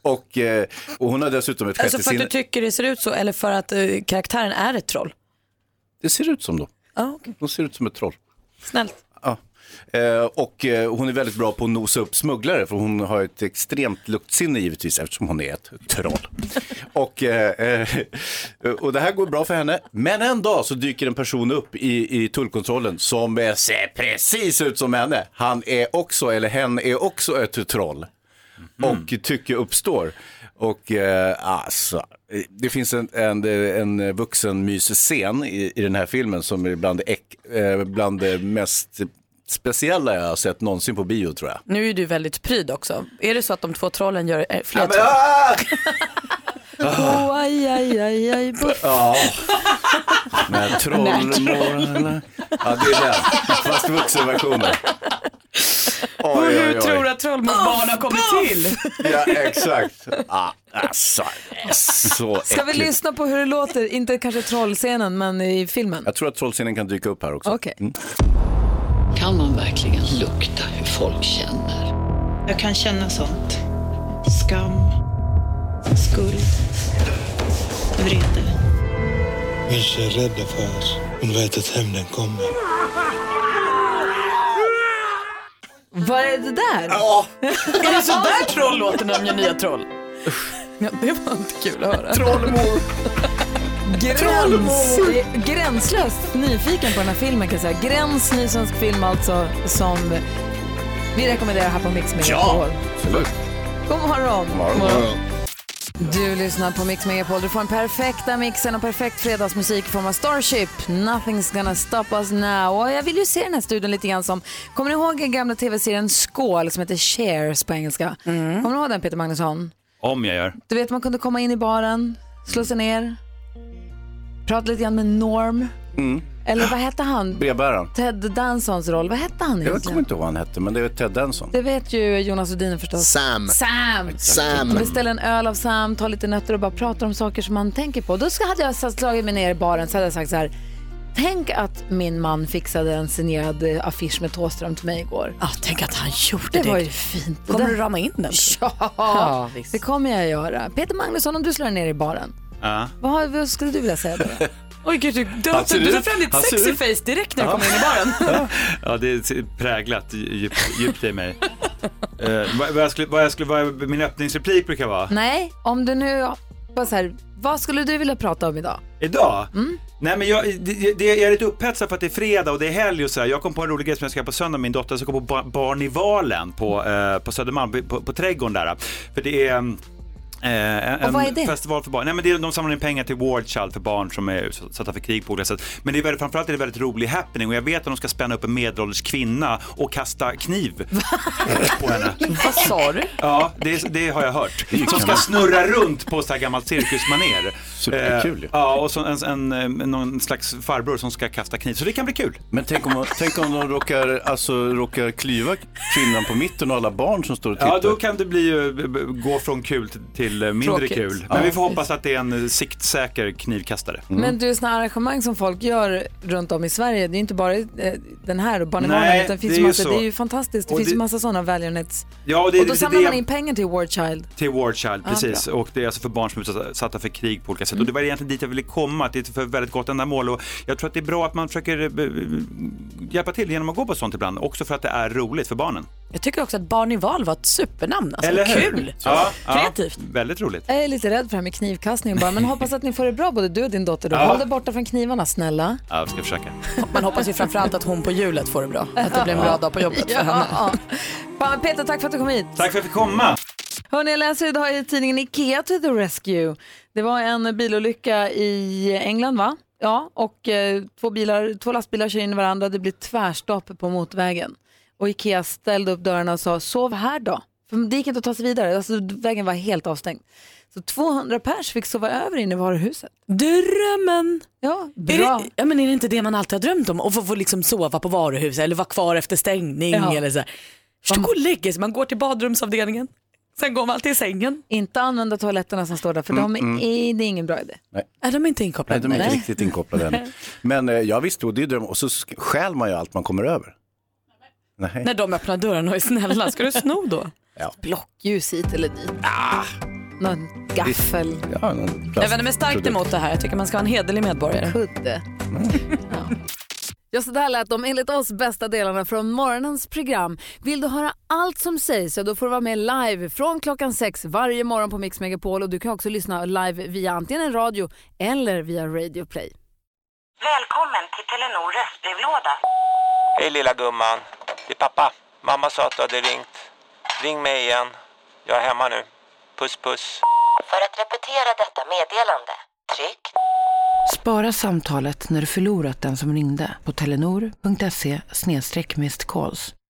[SPEAKER 3] Och, eh, och hon har dessutom ett
[SPEAKER 6] Alltså
[SPEAKER 3] sjätte
[SPEAKER 6] för att
[SPEAKER 3] sinne.
[SPEAKER 6] du tycker det ser ut så eller för att eh, karaktären är ett troll?
[SPEAKER 3] Det ser ut som dem.
[SPEAKER 6] Ja,
[SPEAKER 3] De ser ut som ett troll.
[SPEAKER 6] Snällt.
[SPEAKER 3] Ja. Eh, Och eh, hon är väldigt bra på att nosa upp smugglare för hon har ett extremt luktsinne givetvis eftersom hon är ett troll. och, eh, eh, och det här går bra för henne. Men en dag så dyker en person upp i, i tullkontrollen som eh, ser precis ut som henne. Han är också, eller hen är också ett troll.
[SPEAKER 2] Mm.
[SPEAKER 3] Och tycke uppstår. Och eh, alltså, eh, det finns en, en, en vuxenmysscen i, i den här filmen som är bland, det äck, eh, bland det mest speciella jag har sett någonsin på bio tror jag.
[SPEAKER 6] Nu är du väldigt pryd också. Är det så att de två trollen gör eh, fler
[SPEAKER 3] Ja, men-
[SPEAKER 6] troll?
[SPEAKER 3] Ah!
[SPEAKER 6] Åh, aj, aj, aj, aj, buff.
[SPEAKER 3] Ja. När trollmorgnarna...
[SPEAKER 6] trollmorgnarna-
[SPEAKER 3] Ja, det är den. Fast vuxenversionen. Oj,
[SPEAKER 6] Och
[SPEAKER 3] oj,
[SPEAKER 6] hur
[SPEAKER 3] oj.
[SPEAKER 6] tror du att trollmordsbarn har kommit till?
[SPEAKER 3] Ja, exakt. Ah, alltså, det är så
[SPEAKER 2] Ska vi
[SPEAKER 3] äckligt.
[SPEAKER 2] lyssna på hur det låter, inte kanske trollscenen men i filmen?
[SPEAKER 3] Jag tror att trollscenen kan dyka upp här också.
[SPEAKER 2] Okej.
[SPEAKER 3] Mm.
[SPEAKER 20] Kan man verkligen lukta hur folk känner? Jag kan känna sånt. Skam, skuld, vrede.
[SPEAKER 21] Vissa är rädda för oss. De vet att hämnden kommer.
[SPEAKER 2] Vad är det där?
[SPEAKER 6] Ja. Är det så där troll låter när de gör nya troll? Ja, det var inte kul att höra.
[SPEAKER 3] Trollmor.
[SPEAKER 2] Gräns,
[SPEAKER 6] Trollmor.
[SPEAKER 2] gränslöst nyfiken på den här filmen kan jag säga. Gräns, ny svensk film alltså som vi rekommenderar här på Mix Megapol.
[SPEAKER 3] absolut.
[SPEAKER 2] God morgon.
[SPEAKER 3] God morgon. God morgon.
[SPEAKER 2] Du lyssnar på Mix Megapol. Du får den perfekta mixen och perfekt fredagsmusik i form av Starship. Nothing's gonna stop us now. Och jag vill ju se den här studion lite grann som, kommer ni ihåg den gamla tv-serien Skål som heter Shares på engelska?
[SPEAKER 3] Mm.
[SPEAKER 2] Kommer ni ihåg den Peter Magnusson?
[SPEAKER 13] Om jag gör.
[SPEAKER 2] Du vet man kunde komma in i baren, slå sig ner, prata lite grann med Norm.
[SPEAKER 3] Mm.
[SPEAKER 2] Eller vad hette han?
[SPEAKER 3] Brevbäraren.
[SPEAKER 2] Ted Dansons roll, vad hette han
[SPEAKER 3] Jag kommer
[SPEAKER 2] egentligen?
[SPEAKER 3] inte ihåg vad han hette, men det är Ted Danson.
[SPEAKER 2] Det vet ju Jonas Rhodiner förstås.
[SPEAKER 3] Sam.
[SPEAKER 2] Sam.
[SPEAKER 3] Sam.
[SPEAKER 2] Man beställer en öl av Sam, tar lite nötter och bara pratar om saker som man tänker på. Då ska- hade jag satt- slagit mig ner i baren så hade jag sagt så här. Tänk att min man fixade en signerad eh, affisch med Thåström till mig igår.
[SPEAKER 6] Ja, tänk att han gjorde
[SPEAKER 2] det.
[SPEAKER 6] det.
[SPEAKER 2] var ju fint.
[SPEAKER 6] Kommer du rama in den?
[SPEAKER 2] Ja,
[SPEAKER 6] Ja,
[SPEAKER 2] det kommer jag göra. Peter Magnusson, om du slår dig ner i baren,
[SPEAKER 13] Ja.
[SPEAKER 2] vad, har- vad skulle du vilja säga då?
[SPEAKER 6] Oj gud, du
[SPEAKER 13] Han ser
[SPEAKER 6] du tar
[SPEAKER 13] ut-
[SPEAKER 6] fram ditt
[SPEAKER 13] han ser
[SPEAKER 6] sexy
[SPEAKER 13] ut-
[SPEAKER 6] face direkt när du
[SPEAKER 13] Ja.
[SPEAKER 6] kommer in i baren.
[SPEAKER 13] Ja, det är präglat djupt, djupt i mig. Eh, vad, vad, jag skulle, vad, jag skulle, vad min öppningsreplik brukar vara.
[SPEAKER 2] Nej, om du nu, bara så här, vad skulle du vilja prata om idag?
[SPEAKER 13] Idag? Nej men jag, det, det, jag är lite upphetsad för att det är fredag och det är helg och så här. Jag kom på en rolig grej som jag ska göra på söndag med min dotter. som går på ba- Barnivalen på, eh, på Södermalm, på, på, på Trädgården där. För det är mm, Eh, en
[SPEAKER 2] Och vad är det?
[SPEAKER 13] festival för barn. Nej, men det är, de samlar in pengar till War Child för barn som är utsatta för krig på olika sätt. Men det är väldigt, framförallt är det väldigt rolig happening och jag vet att de ska spänna upp en medelålders kvinna och kasta kniv på henne.
[SPEAKER 6] Vad sa du?
[SPEAKER 13] Ja, det, det har jag hört. Som ska snurra runt på så här gammalt cirkusmanér.
[SPEAKER 3] Superkul ju.
[SPEAKER 13] Eh, ja, och så en, en, eh, någon slags farbror som ska kasta kniv. Så det kan bli kul.
[SPEAKER 3] Men tänk om, tänk om de råkar, alltså, råkar
[SPEAKER 13] Typ.
[SPEAKER 3] klyva kvinnan på mitten och alla barn som står och tittar.
[SPEAKER 13] Ja, då kan det bli, eh, b- b- gå från kul till, till till eh, mindre
[SPEAKER 2] Tråkigt.
[SPEAKER 13] kul.
[SPEAKER 2] Ja. Mm.
[SPEAKER 13] Men vi får hoppas att det är en eh, siktsäker knivkastare.
[SPEAKER 2] Men du, sådana arrangemang som folk gör runt om i Sverige, det är ju inte bara eh, den här
[SPEAKER 13] Nej,
[SPEAKER 2] Barnemanan, utan det finns
[SPEAKER 13] det
[SPEAKER 2] ju
[SPEAKER 13] är ju
[SPEAKER 2] massa,
[SPEAKER 13] så.
[SPEAKER 2] det är ju fantastiskt. Det
[SPEAKER 13] Och
[SPEAKER 2] finns ju
[SPEAKER 13] det-
[SPEAKER 2] massa sådana välgörenhets...
[SPEAKER 13] Ja, och
[SPEAKER 2] och,
[SPEAKER 13] det-
[SPEAKER 2] då
[SPEAKER 13] det-
[SPEAKER 2] samlar
[SPEAKER 13] det-
[SPEAKER 2] man in pengar till War Child.
[SPEAKER 13] Till War Child,
[SPEAKER 2] Ja,
[SPEAKER 13] precis.
[SPEAKER 2] bra. Mm.
[SPEAKER 13] och det är alltså för barn som är utsatta för krig på olika sätt. Och det var egentligen dit jag ville komma, att det är för ett väldigt gott ändamål. Och jag tror att det är bra att man försöker eh, hjälpa till genom att gå på sånt ibland, också för att det är roligt för barnen.
[SPEAKER 7] Jag tycker också att Barn i val var ett supernamn. Alltså, kul!
[SPEAKER 13] Ja,
[SPEAKER 7] Kreativt.
[SPEAKER 13] Ja, väldigt roligt.
[SPEAKER 2] Jag är lite rädd för det här med knivkastningen bara, men hoppas att ni får det bra både du och din dotter då.
[SPEAKER 13] Ja.
[SPEAKER 2] Håll dig borta från knivarna, snälla.
[SPEAKER 13] Ja, vi ska försöka.
[SPEAKER 7] Man hoppas ju framförallt att hon på hjulet får det bra. Att det blir en bra dag på jobbet för henne.
[SPEAKER 2] Ja, ja. Peter, tack för att du kom hit.
[SPEAKER 13] Tack för att vi fick komma.
[SPEAKER 2] Hörrni, jag läser idag i tidningen Ikea to the rescue. Det var en bilolycka i England va? Ja, och eh, två, bilar, två lastbilar kör in i varandra. Det blir tvärstopp på motorvägen. Och Ikea ställde upp dörrarna och sa sov här då. För det gick inte att ta sig vidare. Alltså, vägen var helt avstängd. Så 200 pers fick sova över inne i varuhuset.
[SPEAKER 7] Drömmen!
[SPEAKER 2] Ja,
[SPEAKER 7] Är det, ja, men är det inte det man alltid har drömt om? Att få, få liksom sova på varuhus eller vara kvar efter stängning.
[SPEAKER 2] Ja.
[SPEAKER 7] Eller så här. Förstå gå och lägga sig, man går till badrumsavdelningen, sen går man till sängen.
[SPEAKER 2] Inte använda toaletterna som står där, för de
[SPEAKER 3] Mm, mm.
[SPEAKER 2] är, det är ingen bra idé.
[SPEAKER 3] Nej.
[SPEAKER 7] Är de inte inkopplade?
[SPEAKER 3] Nej, de är inte riktigt inkopplade än. Men eh, ja, visst, och det är dröm. Och så sk- stjäl man ju allt man kommer över. Nej.
[SPEAKER 7] När de öppnar dörren och är snälla, ska du sno då?
[SPEAKER 3] Ja.
[SPEAKER 2] Blockljus hit eller dit.
[SPEAKER 7] Ah.
[SPEAKER 2] Någon gaffel.
[SPEAKER 3] Ja, någon
[SPEAKER 7] Jag vänder mig starkt
[SPEAKER 3] plastprodukt.
[SPEAKER 7] emot det här, jag tycker man ska vara en hederlig medborgare.
[SPEAKER 2] Kudde. Ja, så där lät de enligt oss bästa delarna från morgonens program. Vill du höra allt som sägs så då får du vara med live från klockan sex varje morgon på Mix Megapol och du kan också lyssna live via antingen radio eller via Radio Play.
[SPEAKER 22] Välkommen till Telenor röstbrevlåda.
[SPEAKER 23] Hej lilla gumman. Det är pappa. Mamma sa att du hade ringt. Ring mig igen. Jag är hemma nu. Puss puss.
[SPEAKER 22] För att repetera detta meddelande, tryck
[SPEAKER 24] Spara samtalet när du förlorat den som ringde på telenor.se snedstreck calls.